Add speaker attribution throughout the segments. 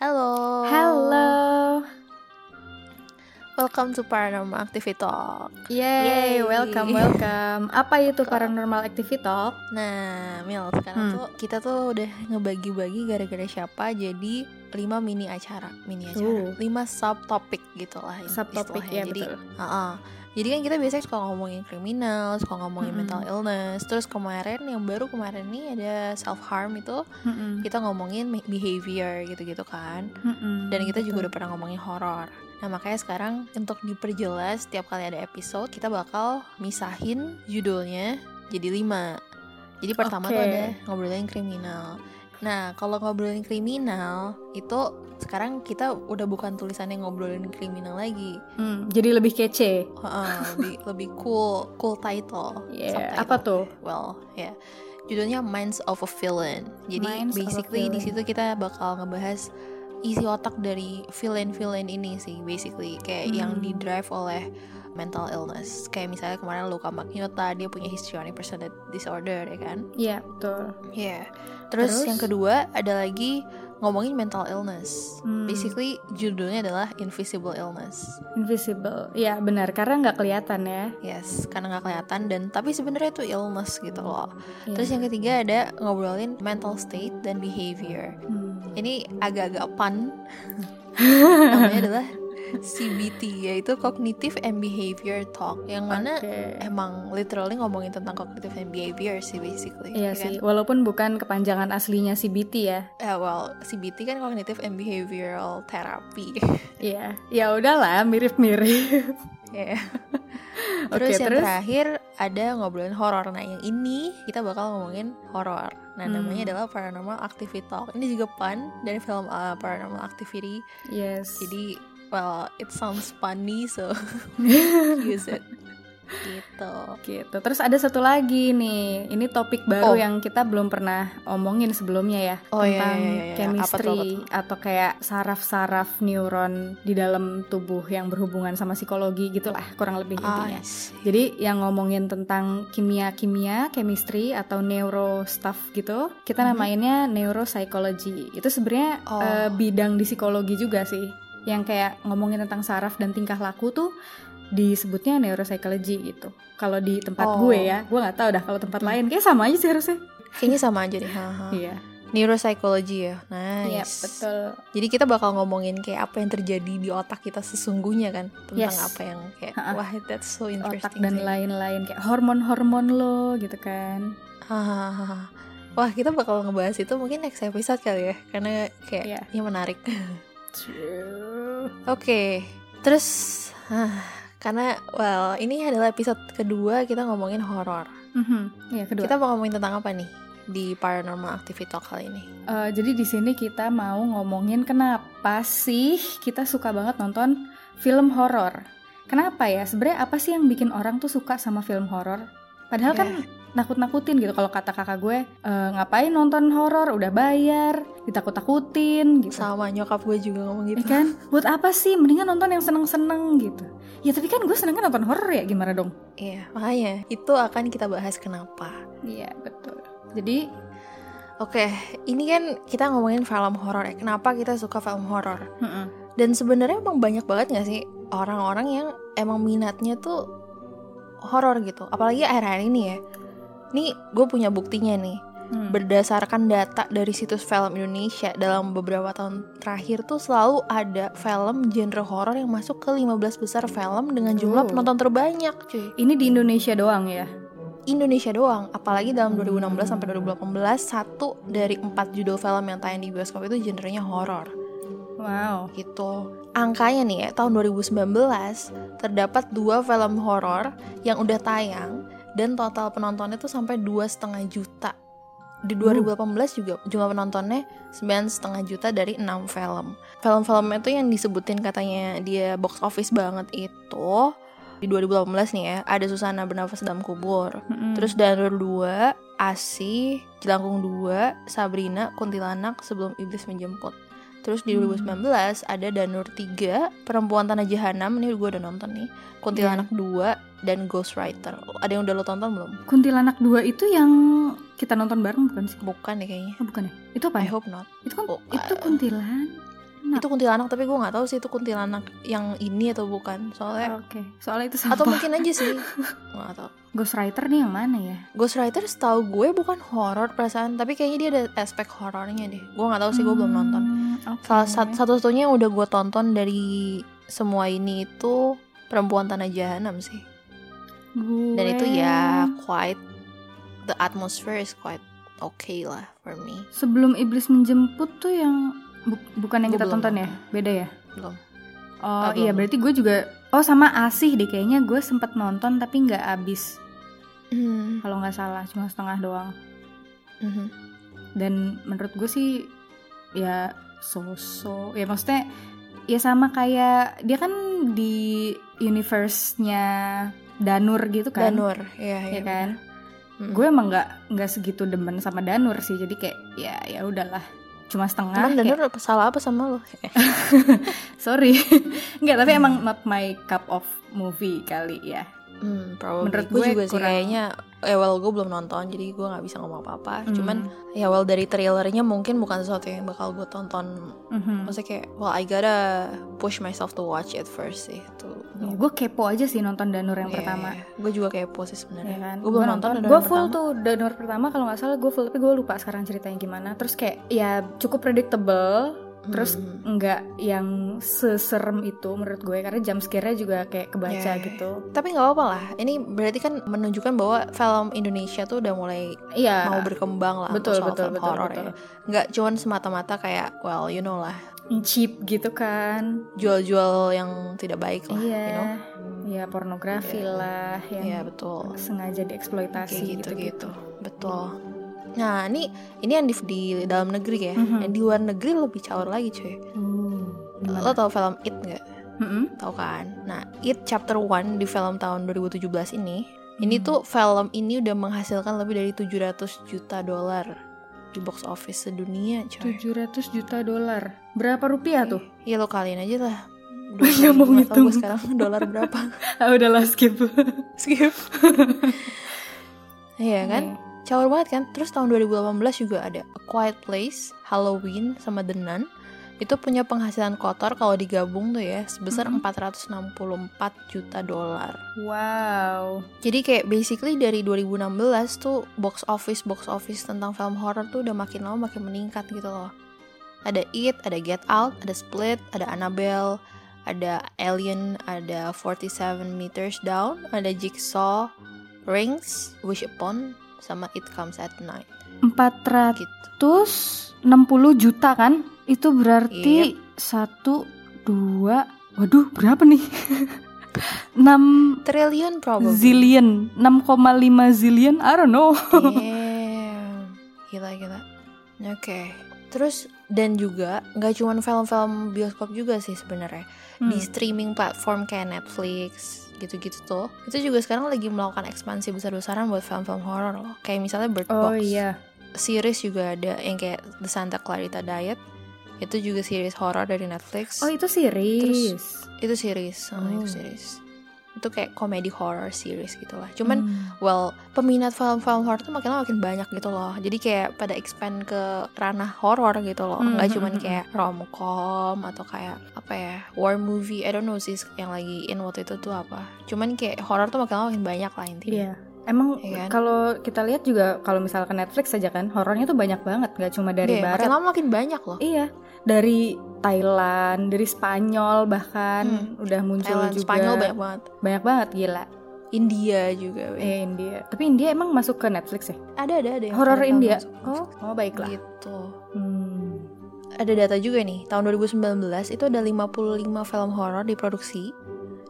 Speaker 1: Halo.
Speaker 2: Halo.
Speaker 1: Welcome to Paranormal Activity Talk. Yay.
Speaker 2: Yay, welcome, welcome. Apa itu paranormal activity talk?
Speaker 1: Nah, Mil, sekarang
Speaker 2: Hmm.
Speaker 1: tuh kita tuh udah ngebagi-bagi gara-gara siapa jadi 5 mini acara, mini acara.
Speaker 2: Uh.
Speaker 1: 5 subtopik gitu lah in-
Speaker 2: Subtopik
Speaker 1: istilahnya.
Speaker 2: ya
Speaker 1: Jadi,
Speaker 2: betul.
Speaker 1: uh-uh. Jadi kan kita biasanya suka ngomongin kriminal, suka ngomongin
Speaker 2: Mm-mm.
Speaker 1: mental illness. Terus kemarin yang baru kemarin nih ada self harm itu
Speaker 2: Mm-mm,
Speaker 1: kita ngomongin behavior gitu-gitu kan.
Speaker 2: mm-mm,
Speaker 1: dan kita juga udah
Speaker 2: betul.
Speaker 1: pernah ngomongin horor. Nah makanya sekarang untuk diperjelas setiap kali ada episode kita bakal misahin judulnya jadi lima. Jadi pertama tuh
Speaker 2: Oke.
Speaker 1: ada ngobrolin kriminal. Nah kalau ngobrolin kriminal itu sekarang kita udah bukan tulisannya ngobrolin kriminal lagi,
Speaker 2: Hmm, jadi lebih kece.
Speaker 1: Heeh, lebih lebih cool cool title.
Speaker 2: Yeah,
Speaker 1: subtitle.
Speaker 2: Iya, Apa tuh?
Speaker 1: Well, ya. Judulnya Minds of a Villain. Jadi
Speaker 2: Minds of a
Speaker 1: basically di
Speaker 2: Villain.
Speaker 1: situ kita bakal ngebahas isi otak dari villain-villain ini sih basically kayak
Speaker 2: Hmm.
Speaker 1: yang di drive oleh mental illness. Kayak misalnya kemarin Luka Magnotta dia punya histrionic personality disorder ya kan.
Speaker 2: Iya, betul.
Speaker 1: Iya. Terus,
Speaker 2: Terus?
Speaker 1: yang kedua ada lagi ngomongin mental illness.
Speaker 2: Hmm.
Speaker 1: Basically judulnya adalah invisible illness.
Speaker 2: Invisible. Iya, benar karena nggak kelihatan ya.
Speaker 1: Yes, karena nggak kelihatan dan tapi sebenarnya itu illness gitu loh.
Speaker 2: Iya.
Speaker 1: Terus yang ketiga ada ngobrolin mental state dan behavior.
Speaker 2: Hmm.
Speaker 1: Ini agak-agak pun. Namanya adalah CBT yaitu cognitive and behavior talk yang mana
Speaker 2: Oke.
Speaker 1: emang literally ngomongin tentang cognitive and behavior sih basically.
Speaker 2: Iya
Speaker 1: ya kan?
Speaker 2: sih, walaupun bukan kepanjangan aslinya CBT ya.
Speaker 1: Eh, well, CBT kan cognitive and behavioral therapy.
Speaker 2: Iya. Ya udahlah, mirip-mirip.
Speaker 1: Ya.
Speaker 2: Iya.
Speaker 1: terus
Speaker 2: Oke,
Speaker 1: yang
Speaker 2: terus?
Speaker 1: terakhir ada ngobrolin horor. Nah, yang ini kita bakal ngomongin horor. Nah,
Speaker 2: Hmm.
Speaker 1: namanya adalah Paranormal Activity Talk. Ini juga pun dari film uh, Paranormal Activity.
Speaker 2: yes.
Speaker 1: Jadi, well, it sounds funny so use it. Gitu.
Speaker 2: gitu. Terus ada satu lagi nih. Ini topik
Speaker 1: Oh.
Speaker 2: baru yang kita belum pernah omongin sebelumnya ya
Speaker 1: Oh, iya,
Speaker 2: tentang
Speaker 1: iya, iya, iya.
Speaker 2: chemistry
Speaker 1: Apa tuh, apa
Speaker 2: atau kayak saraf-saraf neuron di dalam tubuh yang berhubungan sama psikologi gitulah kurang lebih intinya.
Speaker 1: I see.
Speaker 2: Jadi yang ngomongin tentang kimia-kimia, chemistry atau neuro stuff gitu, kita
Speaker 1: Mhm.
Speaker 2: namainnya neuropsychology. Itu sebenarnya
Speaker 1: Oh.
Speaker 2: eh, bidang di psikologi juga sih, yang kayak ngomongin tentang saraf dan tingkah laku tuh disebutnya neuropsychology gitu. Kalau di tempat
Speaker 1: Oh. Hmm.
Speaker 2: gue ya, gue nggak tahu dah kalau tempat lain kayak sama aja sih harusnya.
Speaker 1: Kayaknya sama aja deh. haha.
Speaker 2: Iya,
Speaker 1: Neuropsychology ya. Nice.
Speaker 2: iya betul.
Speaker 1: Jadi kita bakal ngomongin kayak apa yang terjadi di otak kita sesungguhnya kan tentang
Speaker 2: Yes.
Speaker 1: apa yang kayak
Speaker 2: Ha-ha.
Speaker 1: wah that's so interesting.
Speaker 2: Otak dan
Speaker 1: sih.
Speaker 2: lain-lain kayak hormon-hormon lo gitu kan.
Speaker 1: Hahaha. Wah kita bakal ngebahas itu mungkin next episode kali ya karena kayak
Speaker 2: Iya.
Speaker 1: ini menarik. Oke, terus ah, karena well ini adalah episode kedua kita ngomongin horor.
Speaker 2: Mhm. Iya kedua.
Speaker 1: Kita mau ngomongin tentang apa nih di paranormal activity talk kali ini?
Speaker 2: Eh, jadi di sini kita mau ngomongin kenapa sih kita suka banget nonton film horor. Kenapa ya? Sebenarnya apa sih yang bikin orang tuh suka sama film horor? Padahal kan nakut-nakutin gitu. Kalau kata kakak gue, eh, ngapain nonton horor? Udah bayar, ditakut-takutin gitu.
Speaker 1: Sama nyokap gue juga ngomong
Speaker 2: Ya
Speaker 1: gitu.
Speaker 2: kan? Buat apa sih? Mendingan nonton yang seneng-seneng gitu. Ya tapi kan gue senengnya nonton horor ya, gimana dong?
Speaker 1: Iya makanya itu akan kita bahas kenapa.
Speaker 2: Iya betul. Jadi
Speaker 1: Oke, ini kan kita ngomongin film horor ya. Kenapa kita suka film horor?
Speaker 2: mm-mm.
Speaker 1: Dan sebenarnya emang banyak banget gak sih orang-orang yang emang minatnya tuh horor gitu. Apalagi akhir-akhir ini ya. Nih, gue punya buktinya nih.
Speaker 2: Hmm.
Speaker 1: berdasarkan data dari situs film Indonesia dalam beberapa tahun terakhir tuh selalu ada film genre horor yang masuk ke 15 besar film dengan jumlah
Speaker 2: Oh.
Speaker 1: penonton terbanyak cuy.
Speaker 2: Ini di Indonesia doang ya.
Speaker 1: Indonesia doang, apalagi dalam
Speaker 2: Hmm.
Speaker 1: 2016 sampai 2018 satu dari empat judul film yang tayang di bioskop itu genrenya horor
Speaker 2: Wow.
Speaker 1: gitu. Angkanya nih ya, tahun 2019 terdapat dua film horor yang udah tayang dan total penontonnya tuh sampai dua setengah juta. Di 2018 juga jumlah penontonnya 9,5 setengah juta dari 6 film. Film-filmnya tuh yang disebutin katanya dia box office banget itu di 2018 nih ya, ada Susana Bernafas Dalam Kubur,
Speaker 2: Mm-mm.
Speaker 1: Terus Danur 2, Asi, Jelangkung 2, Sabrina, Kuntilanak sebelum Iblis menjemput. Terus di
Speaker 2: Hmm.
Speaker 1: 2019 ada Danur 3, Perempuan Tanah Jahanam, ini gue udah nonton nih. Kuntilanak
Speaker 2: Iya.
Speaker 1: 2 dan Ghostwriter. Ada yang udah lo tonton belum?
Speaker 2: Kuntilanak 2 itu yang kita nonton bareng bukan sih?
Speaker 1: Bukan deh kayaknya.
Speaker 2: Oh, bukan ya? Itu apa?
Speaker 1: I
Speaker 2: ya?
Speaker 1: hope not.
Speaker 2: Itu kan
Speaker 1: Eh, oh,
Speaker 2: itu
Speaker 1: uh,
Speaker 2: kuntilan. Nah.
Speaker 1: Itu kuntilanak tapi gue nggak tahu sih itu kuntilanak yang ini atau bukan. Soalnya
Speaker 2: Oke. Soalnya itu
Speaker 1: Eh. atau
Speaker 2: sama
Speaker 1: mungkin aja sih. Nggak tahu.
Speaker 2: Ghostwriter nih yang mana ya?
Speaker 1: Ghostwriter setahu gue bukan horor perasaan, tapi kayaknya dia ada aspek horornya deh. Gue nggak tahu sih gue belum nonton.
Speaker 2: Hmm, oke.
Speaker 1: Salah satu satu-satunya yang udah gue tonton dari semua ini itu perempuan tanah jahanam sih. Dan itu
Speaker 2: Gue-
Speaker 1: ya quite the atmosphere is quite okay lah for me.
Speaker 2: Sebelum iblis menjemput tuh yang bu- bukan yang
Speaker 1: Gue
Speaker 2: kita
Speaker 1: belum
Speaker 2: tonton ya,
Speaker 1: nonton.
Speaker 2: beda ya.
Speaker 1: Belum.
Speaker 2: Oh
Speaker 1: Ah,
Speaker 2: iya
Speaker 1: belum.
Speaker 2: berarti gue juga oh sama asih deh kayaknya gue sempet nonton tapi nggak abis
Speaker 1: Hmm,
Speaker 2: kalau nggak salah cuma setengah doang.
Speaker 1: mhm.
Speaker 2: Dan menurut gue sih ya so-so ya maksudnya ya sama kayak dia kan di universe-nya Danur gitu kan.
Speaker 1: Danur, ya,
Speaker 2: ya kan.
Speaker 1: Mm.
Speaker 2: Gue emang nggak nggak segitu demen sama Danur sih jadi kayak ya ya udahlah cuma setengah.
Speaker 1: Emang
Speaker 2: kayak-
Speaker 1: Danur apa- salah apa sama lo?
Speaker 2: Sorry, nggak tapi emang not my cup of movie kali ya.
Speaker 1: Hmm, probably.
Speaker 2: Menurut
Speaker 1: gue
Speaker 2: gue
Speaker 1: juga sih
Speaker 2: kurang-
Speaker 1: kayaknya eh well gue belum nonton jadi gue nggak bisa ngomong apa-apa.
Speaker 2: Hmm.
Speaker 1: Cuman ya well dari trailernya mungkin bukan sesuatu yang bakal gue tonton.
Speaker 2: Mhm.
Speaker 1: Maksudnya kayak well I gotta push myself to watch it first sih. Tuh.
Speaker 2: Ya, gue kepo aja sih nonton Danur
Speaker 1: Iya,
Speaker 2: yang pertama.
Speaker 1: Gue juga kepo sih
Speaker 2: Ya
Speaker 1: sebenarnya.
Speaker 2: kan?
Speaker 1: Gue belum Iya nonton, Danur
Speaker 2: Gue
Speaker 1: yang
Speaker 2: full
Speaker 1: pertama.
Speaker 2: tuh Danur pertama kalau nggak salah gue full tapi gue lupa sekarang ceritanya gimana. Terus kayak ya cukup predictable. Terus
Speaker 1: Hmm.
Speaker 2: nggak yang seserem itu menurut gue karena jam scare-nya juga kayak kebaca
Speaker 1: Ya, ya.
Speaker 2: gitu.
Speaker 1: tapi nggak apa-apa lah. Ini berarti kan menunjukkan bahwa film Indonesia tuh udah mulai
Speaker 2: Iya.
Speaker 1: mau berkembang lah
Speaker 2: betul
Speaker 1: soal
Speaker 2: betul
Speaker 1: film
Speaker 2: betul
Speaker 1: horor
Speaker 2: betul.
Speaker 1: ya. Nggak cuman semata-mata kayak well you know lah
Speaker 2: Cheap gitu kan.
Speaker 1: jual-jual yang tidak baik lah.
Speaker 2: Iya.
Speaker 1: You know?
Speaker 2: Iya pornografi
Speaker 1: Iya.
Speaker 2: lah yang
Speaker 1: Iya betul.
Speaker 2: sengaja dieksploitasi
Speaker 1: Kayak
Speaker 2: gitu gitu.
Speaker 1: gitu-gitu. Betul. Nah ini ini yang di, di dalam negeri ya.
Speaker 2: Mhm.
Speaker 1: Yang di luar negeri lebih caur lagi cuy.
Speaker 2: Hmm.
Speaker 1: Lo tau film It nggak? Tau kan? Nah It Chapter 1 di film tahun 2017 ini. Ini
Speaker 2: Hmm.
Speaker 1: tuh film ini udah menghasilkan lebih dari 700 juta dolar di box office sedunia coy.
Speaker 2: 700 juta dolar. Berapa rupiah tuh?
Speaker 1: Iya lo kalian aja lah.
Speaker 2: Nggak
Speaker 1: Nggak tahu
Speaker 2: mau
Speaker 1: gue
Speaker 2: ngitung.
Speaker 1: sekarang dolar berapa.
Speaker 2: Ah, udahlah skip.
Speaker 1: Skip. Iya kan? Caur banget kan? Terus tahun 2018 juga ada A Quiet Place, Halloween, sama The Nun. Itu punya penghasilan kotor kalau digabung tuh ya sebesar
Speaker 2: Mhm.
Speaker 1: 464 juta dolar.
Speaker 2: Wow.
Speaker 1: Jadi kayak basically dari 2016 tuh box office box office tentang film horor tuh udah makin lama makin meningkat gitu loh. Ada It, ada Get Out, ada Split, ada Annabelle, ada Alien, ada 47 Meters Down, ada Jigsaw, Rings, Wish Upon, sama It Comes at Night
Speaker 2: 460
Speaker 1: gitu.
Speaker 2: juta kan? Itu
Speaker 1: Iya.
Speaker 2: berarti satu dua Waduh, berapa nih? 6
Speaker 1: Triliun probably.
Speaker 2: zillion, 6,5 zillion, I don't know.
Speaker 1: Damn. Gila gila. Oke. Terus dan juga nggak cuman film-film bioskop juga sih sebenarnya. di
Speaker 2: Hmm.
Speaker 1: streaming platform kayak Netflix gitu-gitu tuh itu juga sekarang lagi melakukan ekspansi besar-besaran buat film-film horor loh kayak misalnya Bird
Speaker 2: Oh
Speaker 1: Box
Speaker 2: iya.
Speaker 1: series juga ada yang kayak The Santa Clarita Diet itu juga series horor dari Netflix
Speaker 2: Oh, itu series.
Speaker 1: itu series ah,
Speaker 2: Oh.
Speaker 1: itu series itu kayak komedi horror series gitulah cuman
Speaker 2: Hmm,
Speaker 1: well peminat film-film horor tuh makin lama makin banyak gitu loh jadi kayak pada expand ke ranah horor gitu loh
Speaker 2: Hmm,
Speaker 1: nggak
Speaker 2: hmm,
Speaker 1: cuman
Speaker 2: hmm,
Speaker 1: kayak romcom atau kayak apa ya war movie I don't know sih yang lagi in waktu itu tuh apa cuman kayak horor tuh makin lama makin banyak lah intinya
Speaker 2: Iya. Emang
Speaker 1: Iya kan?
Speaker 2: kalau kita lihat juga kalau misalkan Netflix saja kan horornya tuh banyak banget nggak cuma dari
Speaker 1: Iya,
Speaker 2: barat.
Speaker 1: Makin lama makin banyak loh.
Speaker 2: Iya, dari Thailand, dari Spanyol bahkan udah muncul
Speaker 1: Hmm. Thailand,
Speaker 2: juga.
Speaker 1: Spanyol banyak banget.
Speaker 2: Banyak banget gila.
Speaker 1: India juga. weh.
Speaker 2: Eh India. Tapi India emang masuk ke Netflix ya?
Speaker 1: Ada ada ada. yang
Speaker 2: Horor
Speaker 1: ada tahun
Speaker 2: India.
Speaker 1: Iya, masuk.
Speaker 2: Oh, oh baiklah.
Speaker 1: Gitu.
Speaker 2: Hmm.
Speaker 1: Ada data juga nih, tahun 2019 itu ada 55 film horor diproduksi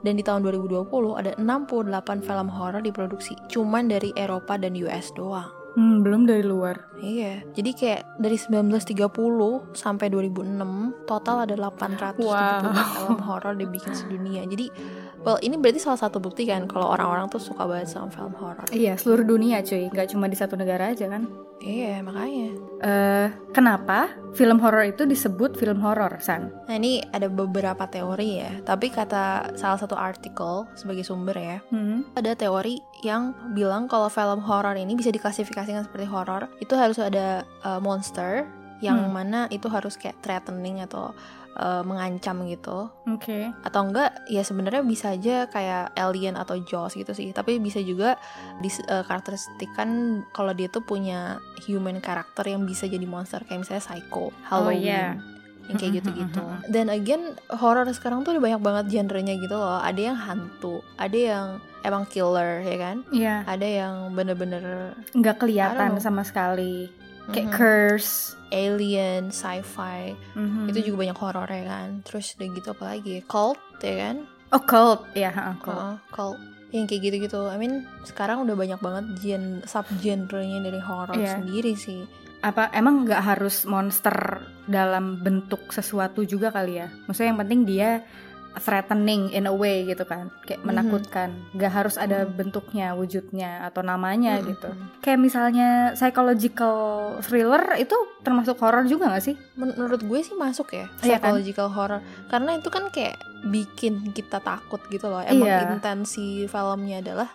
Speaker 1: dan di tahun 2020 ada 68 film horor diproduksi cuman dari Eropa dan US doang.
Speaker 2: Hmm, belum dari luar.
Speaker 1: Iya, jadi kayak dari 1930 sampai 2006 total ada 870
Speaker 2: Wow.
Speaker 1: film horor dibikin sedunia. Jadi, well ini berarti salah satu bukti kan kalau orang-orang tuh suka banget sama film horor.
Speaker 2: Iya, seluruh dunia cuy, nggak cuma di satu negara aja kan.
Speaker 1: Iya, makanya.
Speaker 2: Eh, kenapa film horor itu disebut film horor, San?
Speaker 1: Nah ini ada beberapa teori ya, tapi kata salah satu artikel sebagai sumber ya,
Speaker 2: Hmm.
Speaker 1: ada teori yang bilang kalau film horor ini bisa diklasifikasikan seperti horor itu harus ada uh, monster yang
Speaker 2: Hmm.
Speaker 1: mana itu harus kayak threatening atau uh, mengancam gitu
Speaker 2: Oke.
Speaker 1: atau enggak ya sebenarnya bisa aja kayak alien atau jaws gitu sih tapi bisa juga dikarakteristikan kalau dia tuh punya human karakter yang bisa jadi monster kayak misalnya psycho Halloween
Speaker 2: iya.
Speaker 1: yang kayak gitu-gitu dan again horor sekarang tuh ada banyak banget genrenya gitu loh ada yang hantu ada yang emang killer ya kan
Speaker 2: Iya.
Speaker 1: ada yang bener-bener
Speaker 2: nggak
Speaker 1: I
Speaker 2: kelihatan
Speaker 1: don't know.
Speaker 2: sama sekali kayak
Speaker 1: mhm,
Speaker 2: curse
Speaker 1: alien sci-fi
Speaker 2: Mhm.
Speaker 1: itu juga banyak horornya kan terus udah gitu apalagi cult ya kan
Speaker 2: occult ya ha, occult
Speaker 1: Heeh, cult yang kayak gitu-gitu. I mean, sekarang udah banyak banget gen subgenrenya dari horor
Speaker 2: Iya.
Speaker 1: sendiri sih.
Speaker 2: apa emang nggak harus monster dalam bentuk sesuatu juga kali ya maksudnya yang penting dia threatening in a way gitu kan kayak
Speaker 1: Mhm.
Speaker 2: menakutkan nggak harus ada
Speaker 1: Mhm.
Speaker 2: bentuknya wujudnya atau namanya
Speaker 1: Mm-mm.
Speaker 2: gitu kayak misalnya psychological thriller itu termasuk horor juga nggak sih
Speaker 1: Menurut gue sih masuk ya
Speaker 2: Iya kan?
Speaker 1: psychological horror karena itu kan kayak bikin kita takut gitu loh. Emang
Speaker 2: Iya.
Speaker 1: intensi filmnya adalah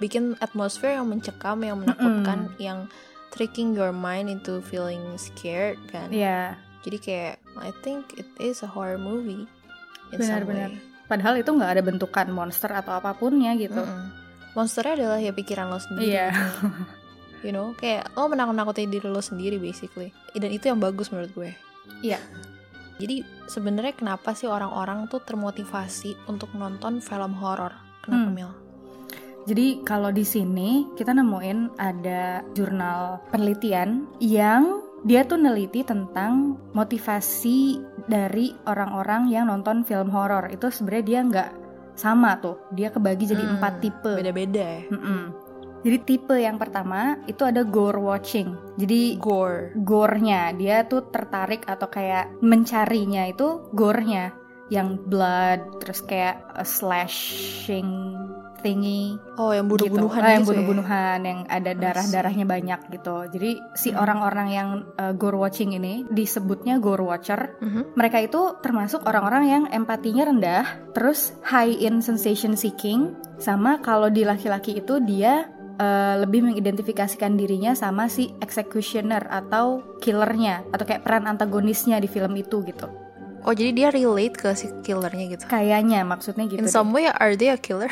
Speaker 1: bikin atmosfer yang mencekam, yang menakutkan, yang tricking your mind into feeling scared kan.
Speaker 2: Iya
Speaker 1: Jadi kayak I think it is a horror movie in some
Speaker 2: Benar-benar.
Speaker 1: way.
Speaker 2: padahal itu nggak ada bentukan monster atau apapunnya gitu
Speaker 1: Mm-mm. Monsternya adalah ya pikiran lo sendiri.
Speaker 2: Iya.
Speaker 1: gitu. You know, kayak lo menakut-nakutin diri lo sendiri basically. Dan itu yang bagus menurut gue.
Speaker 2: Iya.
Speaker 1: Jadi sebenarnya kenapa sih orang-orang tuh termotivasi untuk nonton film horor? Kenapa
Speaker 2: Hmm.
Speaker 1: Mil?
Speaker 2: Jadi kalau di sini kita nemuin ada jurnal penelitian yang dia tuh neliti tentang motivasi dari orang-orang yang nonton film horor itu sebenarnya dia nggak sama tuh dia kebagi jadi
Speaker 1: Hmm,
Speaker 2: empat tipe.
Speaker 1: Beda-beda ya.
Speaker 2: Mm-mm. Jadi tipe yang pertama itu ada gore watching. Jadi
Speaker 1: Gore.
Speaker 2: gore-nya dia tuh tertarik atau kayak mencarinya itu gore-nya yang blood terus kayak a slashing thingy
Speaker 1: Oh, yang bunuh-bunuhan
Speaker 2: gitu. Ah, yang
Speaker 1: gitu ya?
Speaker 2: bunuh-bunuhan yang ada darah-darahnya banyak gitu. Jadi si
Speaker 1: Hmm.
Speaker 2: orang-orang yang uh, gore watching ini disebutnya gore watcher.
Speaker 1: Mhm.
Speaker 2: Mereka itu termasuk orang-orang yang empatinya rendah, terus high in sensation seeking, sama kalau di laki-laki itu dia uh, lebih mengidentifikasikan dirinya sama si executioner atau killernya atau kayak peran antagonisnya di film itu gitu.
Speaker 1: Oh, jadi dia relate ke si killernya gitu.
Speaker 2: Kayaknya maksudnya Kan gitu.
Speaker 1: In
Speaker 2: deh.
Speaker 1: some way, are they a killer?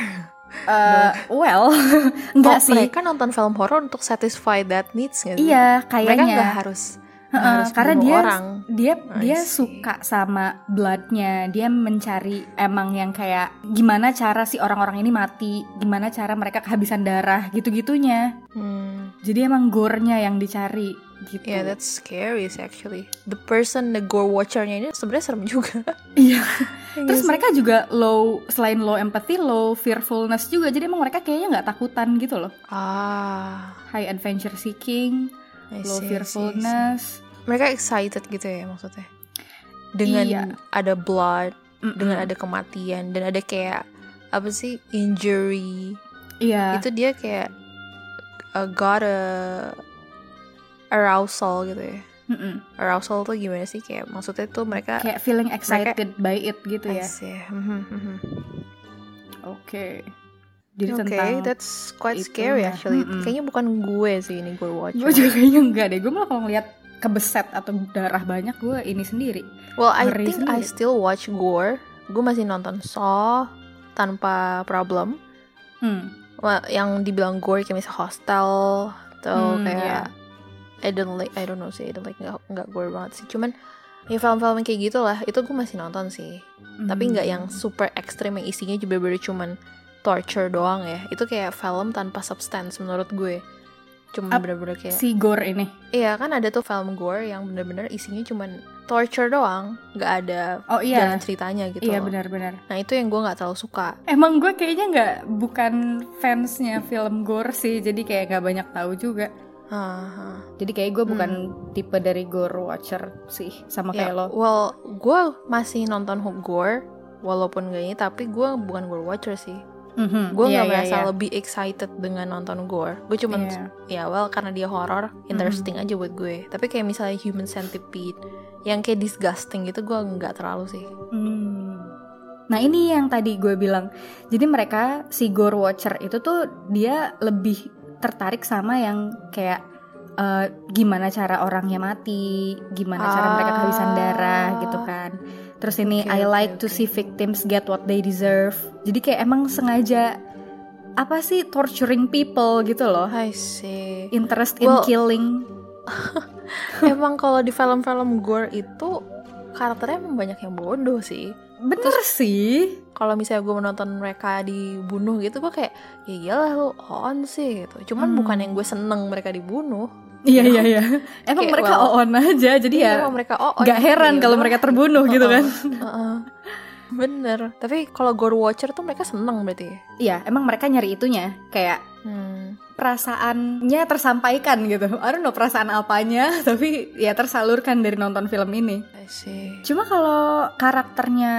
Speaker 2: Uh, well, enggak
Speaker 1: Oh,
Speaker 2: sih.
Speaker 1: Mereka nonton film horor untuk satisfy that needs nggak sih?
Speaker 2: Iya,
Speaker 1: Mereka
Speaker 2: kayaknya.
Speaker 1: nggak harus, nggak
Speaker 2: Heeh,
Speaker 1: harus
Speaker 2: karena
Speaker 1: bunuh
Speaker 2: dia
Speaker 1: orang.
Speaker 2: dia
Speaker 1: I
Speaker 2: dia
Speaker 1: see.
Speaker 2: suka sama bloodnya dia mencari emang yang kayak gimana cara si orang-orang ini mati gimana cara mereka kehabisan darah gitu-gitunya
Speaker 1: Hmm.
Speaker 2: jadi emang gore-nya yang dicari gitu
Speaker 1: Yeah, Iya, that's scary sih actually. The person, the gore watchernya ini sebenarnya serem juga.
Speaker 2: Iya.
Speaker 1: Ya nggak
Speaker 2: terus
Speaker 1: sih?
Speaker 2: mereka juga low selain low empathy low fearfulness juga jadi emang mereka kayaknya nggak takutan gitu loh
Speaker 1: ah,
Speaker 2: high adventure seeking
Speaker 1: I see, I see, I
Speaker 2: low
Speaker 1: see.
Speaker 2: fearfulness
Speaker 1: Mereka excited gitu ya maksudnya. Dengan
Speaker 2: Iya.
Speaker 1: ada blood,
Speaker 2: Mm-mm.
Speaker 1: dengan ada kematian, dan ada kayak apa sih injury.
Speaker 2: iya
Speaker 1: Itu dia kayak uh, got a arousal gitu ya.
Speaker 2: Mm-mm.
Speaker 1: Arousal tuh gimana sih kayak maksudnya tuh mereka
Speaker 2: kayak feeling excited by it gitu
Speaker 1: I
Speaker 2: ya
Speaker 1: see. Mhm, mhm.
Speaker 2: Oke. Jadi
Speaker 1: Oke,
Speaker 2: tentang
Speaker 1: that's quite
Speaker 2: itu
Speaker 1: scary
Speaker 2: ya.
Speaker 1: actually.
Speaker 2: Mm-mm.
Speaker 1: Kayaknya bukan gue sih ini gue watch.
Speaker 2: gue juga kayaknya enggak deh. Gue malah kalau ngeliat kebeset atau darah banyak gue ini sendiri.
Speaker 1: Well, I
Speaker 2: Ngeri
Speaker 1: think I
Speaker 2: sendiri.
Speaker 1: still watch gore. Gue masih nonton Saw tanpa problem.
Speaker 2: Hmm.
Speaker 1: Wah, yang dibilang gore kayak misalnya hostel atau Oh,
Speaker 2: Hmm,
Speaker 1: kayak I don't like I don't know sih I don't like nggak nggak gore banget sih cuman ya film-film kayak gitu lah itu gue masih nonton sih tapi
Speaker 2: Hmm.
Speaker 1: nggak yang super ekstrim yang isinya juga bener cuman torture doang ya itu kayak film tanpa substance menurut gue cuma
Speaker 2: Ap-
Speaker 1: bener-bener kayak
Speaker 2: si gore ini.
Speaker 1: iya kan ada tuh film gore yang bener-bener isinya cuman torture doang nggak ada
Speaker 2: Oh iya.
Speaker 1: jalan ceritanya gitu
Speaker 2: Iya
Speaker 1: loh.
Speaker 2: benar-benar.
Speaker 1: nah itu yang gue nggak terlalu suka
Speaker 2: Emang gue kayaknya nggak bukan fansnya film gore sih, jadi kayak nggak banyak tahu juga.
Speaker 1: Haha.
Speaker 2: Jadi kayak gue
Speaker 1: Hmm.
Speaker 2: bukan tipe dari gore watcher sih, sama
Speaker 1: Ya,
Speaker 2: kayak lo.
Speaker 1: Well, gue masih nonton Hope Gore walaupun gak ini, tapi gue bukan gore watcher sih.
Speaker 2: Mhm,
Speaker 1: Gue nggak
Speaker 2: iya, iya,
Speaker 1: merasa
Speaker 2: iya.
Speaker 1: lebih excited dengan nonton gore. Gue cuman
Speaker 2: Iya. Hmm.
Speaker 1: ya well karena dia horror, interesting aja buat gue. Tapi kayak misalnya Human Centipede yang kayak disgusting gitu gue nggak terlalu sih.
Speaker 2: Hmm. Nah ini yang tadi gue bilang. Jadi mereka si gore watcher itu tuh dia lebih tertarik sama yang kayak eh, gimana cara orangnya mati, gimana cara mereka kehabisan
Speaker 1: Ah.
Speaker 2: darah gitu kan. Terus ini
Speaker 1: Oke,
Speaker 2: I
Speaker 1: oke,
Speaker 2: like to
Speaker 1: oke.
Speaker 2: see victims get what they deserve. Jadi kayak emang sengaja apa sih torturing people gitu loh.
Speaker 1: I see.
Speaker 2: Interest in
Speaker 1: Well,
Speaker 2: killing.
Speaker 1: Emang kalau di film-film gore itu karakternya emang banyak yang bodoh sih.
Speaker 2: Bener sih.
Speaker 1: kalau misalnya gue menonton mereka dibunuh gitu gue kayak ya iyalah lu on sih gitu cuman
Speaker 2: Hmm.
Speaker 1: bukan yang gue seneng mereka dibunuh
Speaker 2: Iya iya iya. Emang
Speaker 1: Kayak,
Speaker 2: mereka
Speaker 1: well,
Speaker 2: on aja. Jadi ya
Speaker 1: Iya, mereka oh on,
Speaker 2: nggak heran
Speaker 1: iya,
Speaker 2: kalau
Speaker 1: bener.
Speaker 2: mereka terbunuh gitu kan
Speaker 1: Heeh. bener tapi kalau gore watcher tuh mereka seneng berarti ya?
Speaker 2: Iya emang mereka nyari itunya kayak
Speaker 1: hmm.
Speaker 2: perasaannya tersampaikan gitu I don't know perasaan apanya tapi ya tersalurkan dari nonton film ini
Speaker 1: I see.
Speaker 2: cuma kalau karakternya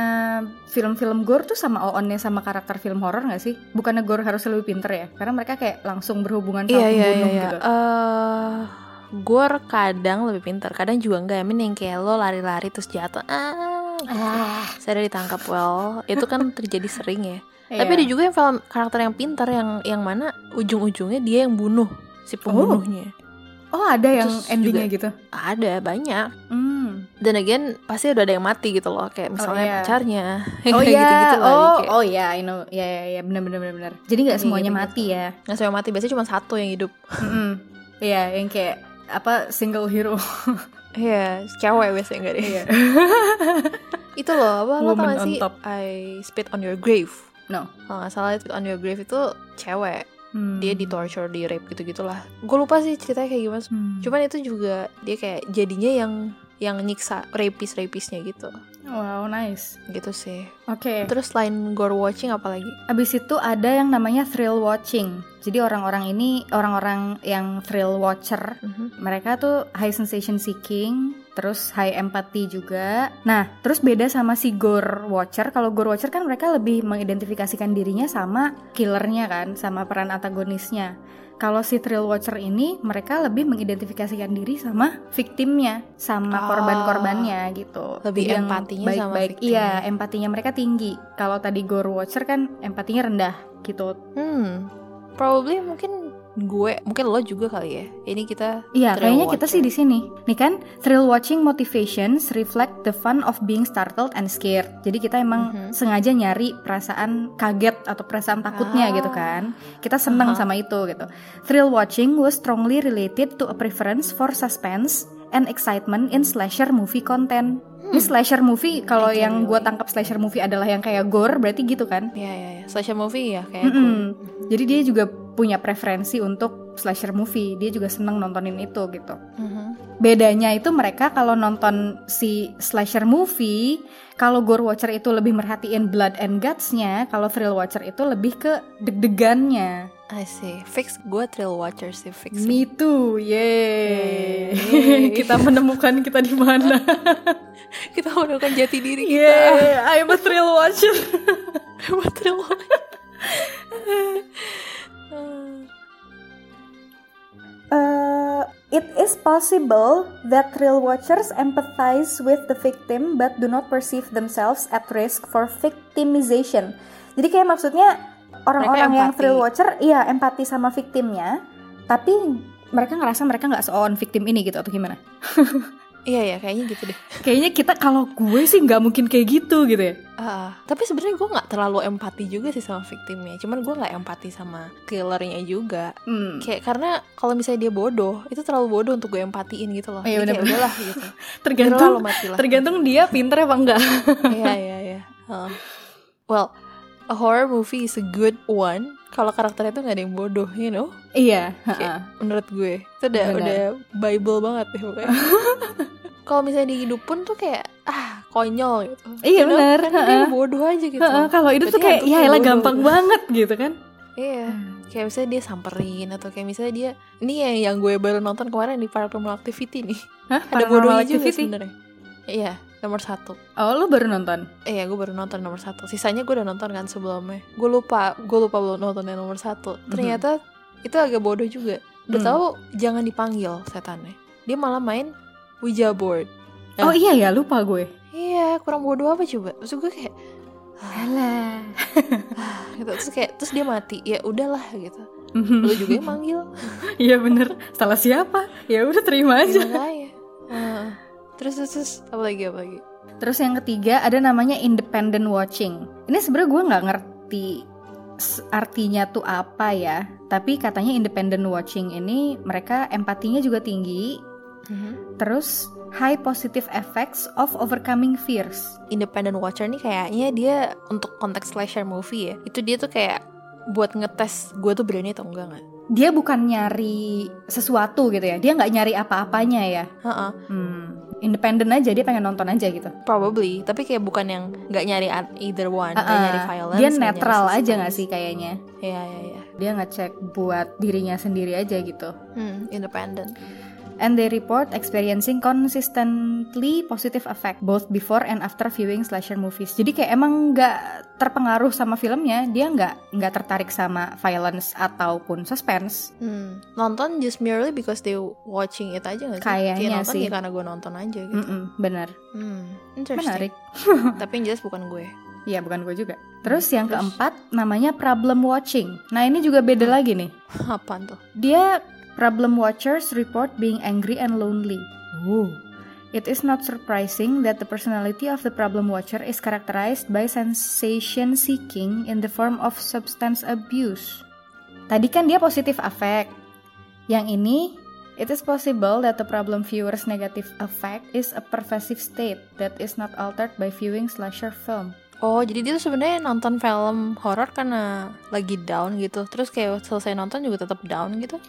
Speaker 2: film-film gore tuh sama Oonnya sama karakter film horor nggak sih bukannya gore harus lebih pinter ya karena mereka kayak langsung berhubungan sama
Speaker 1: iya iya iya
Speaker 2: pembunuh
Speaker 1: iya.
Speaker 2: gitu
Speaker 1: Eh, gore kadang lebih pintar kadang juga enggak I mean yang kayak lo lari-lari terus jatuh ah
Speaker 2: Ah,
Speaker 1: saya ditangkap well itu kan terjadi sering ya Tapi
Speaker 2: iya.
Speaker 1: ada juga yang film karakter yang pintar yang yang mana ujung-ujungnya dia yang bunuh si pembunuhnya.
Speaker 2: oh ada yang
Speaker 1: Terus
Speaker 2: endingnya gitu
Speaker 1: Ada banyak.
Speaker 2: hmm.
Speaker 1: Dan again pasti udah ada yang mati gitu loh, kayak misalnya
Speaker 2: iya.
Speaker 1: pacarnya.
Speaker 2: oh
Speaker 1: Kayak
Speaker 2: iya
Speaker 1: gitu-gitu lah,
Speaker 2: oh
Speaker 1: kayak
Speaker 2: oh iya I know ya ya ya benar benar benar, benar jadi nggak
Speaker 1: Iya,
Speaker 2: semuanya
Speaker 1: gitu-gitu.
Speaker 2: mati ya
Speaker 1: nggak sampai mati, biasanya cuma satu yang hidup.
Speaker 2: Mm-mm. Iya, yang kayak apa single hero.
Speaker 1: Iya, cewek biasanya enggak deh.
Speaker 2: Iya.
Speaker 1: itu loh, apa lo tau
Speaker 2: Woman
Speaker 1: gak
Speaker 2: on
Speaker 1: sih?
Speaker 2: top.
Speaker 1: I spit on your grave.
Speaker 2: No.
Speaker 1: Kalau nggak salah, spit on your grave itu cewek.
Speaker 2: Hmm.
Speaker 1: Dia di torture, di rape gitu-gitulah. Gue lupa sih ceritanya kayak gimana.
Speaker 2: Hmm.
Speaker 1: Cuman itu juga dia kayak jadinya yang yang nyiksa rapist-rapisnya gitu.
Speaker 2: Wow, nice.
Speaker 1: Gitu sih.
Speaker 2: Oke.
Speaker 1: Terus selain gore watching apalagi?
Speaker 2: Abis itu ada yang namanya thrill watching. Jadi orang-orang ini orang-orang yang thrill watcher
Speaker 1: Mhm.
Speaker 2: mereka tuh high sensation seeking, terus high empathy juga. Nah, terus beda sama si gore watcher. Kalau gore watcher kan mereka lebih mengidentifikasikan dirinya sama killernya kan, sama peran antagonisnya. Kalau si thrill watcher ini mereka lebih mengidentifikasikan diri sama victimnya, sama
Speaker 1: Ah.
Speaker 2: korban-korbannya gitu.
Speaker 1: Lebih
Speaker 2: Jadi yang
Speaker 1: empatinya sama
Speaker 2: baik-baik.
Speaker 1: victimnya.
Speaker 2: Iya, empatinya mereka tinggi. Kalau tadi gore watcher kan empatinya rendah gitu.
Speaker 1: Hmm, probably mungkin gue, mungkin lo juga kali ya. Ini kita
Speaker 2: Iya,
Speaker 1: Thrill
Speaker 2: kayaknya kita
Speaker 1: watcher.
Speaker 2: sih di sini. Nih kan, thrill watching motivations reflect the fun of being startled and scared. Jadi kita emang
Speaker 1: Mhm.
Speaker 2: sengaja nyari perasaan kaget atau perasaan
Speaker 1: Ah.
Speaker 2: takutnya
Speaker 1: Uh-huh.
Speaker 2: gitu kan. Kita seneng
Speaker 1: Aha.
Speaker 2: sama itu gitu. Thrill watching was strongly related to a preference for suspense and excitement in slasher movie content. Ini
Speaker 1: Hmm.
Speaker 2: slasher movie kalau
Speaker 1: I can
Speaker 2: yang gua
Speaker 1: relate.
Speaker 2: tangkap slasher movie adalah yang kayak gore, berarti gitu kan?
Speaker 1: ya ya ya, slasher movie ya kayak
Speaker 2: Mm-mm.
Speaker 1: gue.
Speaker 2: Jadi dia juga punya preferensi untuk slasher movie. Dia juga seneng nontonin itu gitu.
Speaker 1: Mhm.
Speaker 2: Bedanya itu mereka kalau nonton si slasher movie, kalau gore watcher itu lebih merhatiin blood and guts-nya, kalau thrill watcher itu lebih ke deg-degannya.
Speaker 1: I see. Fix gue thrill watcher sih fix.
Speaker 2: Me too, yeay.
Speaker 1: Yeay.
Speaker 2: kita menemukan kita di mana.
Speaker 1: kita menemukan jati diri kita.
Speaker 2: Yeay, I'm a thrill watcher.
Speaker 1: Buat thrill watcher. Hmm.
Speaker 2: Eh, it is possible that thrill watchers empathize with the victim but do not perceive themselves at risk for victimization. Jadi kayak maksudnya orang-orang
Speaker 1: Mereka
Speaker 2: yang
Speaker 1: empati.
Speaker 2: thrill watcher iya empati sama victimnya, tapi mereka ngerasa mereka nggak seon victim ini gitu atau gimana?
Speaker 1: Iya Iya ya, kayaknya gitu deh.
Speaker 2: Kayaknya kita kalau gue sih nggak mungkin kayak gitu gitu ya.
Speaker 1: Ah, tapi sebenarnya gue nggak terlalu empati juga sih sama victimnya. Cuman gue nggak empati sama killernya juga.
Speaker 2: Hmm.
Speaker 1: Kayak karena kalau misalnya dia bodoh, itu terlalu bodoh untuk gue empatiin gitu loh. Jadi
Speaker 2: Iya,
Speaker 1: kayak
Speaker 2: bener-bener.
Speaker 1: udahlah gitu. Udahlah lo
Speaker 2: Tergantung
Speaker 1: matilah.
Speaker 2: tergantung dia pinter apa enggak.
Speaker 1: Iya iya iya. Heeh. Well, a horror movie is a good one kalau karakternya tuh nggak ada yang bodoh, you know.
Speaker 2: iya.
Speaker 1: Kayak,
Speaker 2: ha-ha.
Speaker 1: menurut gue itu udah
Speaker 2: Benar.
Speaker 1: udah bible banget deh pokoknya. kalau misalnya di hidup pun tuh kayak ah konyol gitu. You
Speaker 2: Iya
Speaker 1: know,
Speaker 2: benar.
Speaker 1: Karena dia bodoh aja gitu.
Speaker 2: Heeh, kalau itu
Speaker 1: Berarti
Speaker 2: tuh kayak
Speaker 1: hantu
Speaker 2: ya elah
Speaker 1: bodoh."
Speaker 2: gampang banget gitu kan.
Speaker 1: Iya.
Speaker 2: Hmm.
Speaker 1: Kayak misalnya dia samperin atau kayak misalnya dia ini yang yang gue baru nonton kemarin di Paranormal Activity nih.
Speaker 2: Hah,
Speaker 1: Ada
Speaker 2: Paranormal
Speaker 1: bodohnya juga
Speaker 2: Activity?
Speaker 1: sebenarnya. Iya, nomor satu.
Speaker 2: Oh, lu baru nonton.
Speaker 1: Iya, gue baru nonton nomor satu. Sisanya gue udah nonton kan sebelumnya. Gue lupa, gue lupa belum nonton yang nomor satu.
Speaker 2: Mhm.
Speaker 1: Ternyata itu agak bodoh juga. Udah
Speaker 2: Hmm.
Speaker 1: tahu jangan dipanggil setannya. Dia malah main Ouija board. Ya.
Speaker 2: Oh iya ya, lupa gue.
Speaker 1: Iya, kurang bodoh apa coba? Terus gue kayak
Speaker 2: Alah.
Speaker 1: gitu. Terus kayak terus dia mati. Ya udahlah gitu. Lu juga yang manggil.
Speaker 2: Iya bener. Salah siapa? Ya udah terima aja.
Speaker 1: Gimana ya? Heeh. Terus, terus terus apa lagi apa lagi?
Speaker 2: Terus yang ketiga ada namanya independent watching. Ini sebenarnya gue nggak ngerti s- artinya tuh apa ya. Tapi katanya independent watching ini mereka empatinya juga tinggi. Mhm. Terus high positive effects of overcoming fears.
Speaker 1: Independent Watcher nih kayaknya dia untuk konteks slasher movie ya. Itu dia tuh kayak buat ngetes gue tuh berani atau enggak nggak?
Speaker 2: Dia bukan nyari sesuatu gitu ya. Dia nggak nyari apa-apanya ya.
Speaker 1: Heeh.
Speaker 2: Hmm. Independent aja dia pengen nonton aja gitu.
Speaker 1: Probably, tapi kayak bukan yang nggak nyari at- either one, nggak
Speaker 2: Uh-uh.
Speaker 1: nyari violence.
Speaker 2: dia
Speaker 1: nggak nyari
Speaker 2: netral aja
Speaker 1: suspense.
Speaker 2: nggak sih kayaknya?
Speaker 1: Iya, iya, iya.
Speaker 2: Dia ngecek buat dirinya sendiri aja gitu.
Speaker 1: Hmm, independent.
Speaker 2: and they report experiencing consistently positive effect both before and after viewing slasher movies. Jadi kayak emang nggak terpengaruh sama filmnya, dia nggak nggak tertarik sama violence ataupun suspense.
Speaker 1: Hmm. Nonton just merely because they watching it aja nggak sih? Kayak
Speaker 2: Kayaknya
Speaker 1: nonton
Speaker 2: sih.
Speaker 1: ya karena gue nonton aja gitu.
Speaker 2: Mm-mm, bener,
Speaker 1: Hmm, interesting.
Speaker 2: menarik.
Speaker 1: tapi yang jelas bukan gue.
Speaker 2: Iya bukan gue juga. Terus yang
Speaker 1: Terus?
Speaker 2: keempat namanya problem watching. Nah ini juga beda lagi nih.
Speaker 1: Apaan tuh?
Speaker 2: Dia problem watchers report being angry and lonely. Oh. It is not surprising that the personality of the problem watcher is characterized by sensation seeking in the form of substance abuse. Tadi kan dia positif affect. Yang ini, it is possible that the problem viewer's negative affect is a pervasive state that is not altered by viewing slasher film.
Speaker 1: Oh, jadi dia tuh sebenarnya nonton film horor karena lagi down gitu. Terus kayak selesai nonton juga tetap down gitu.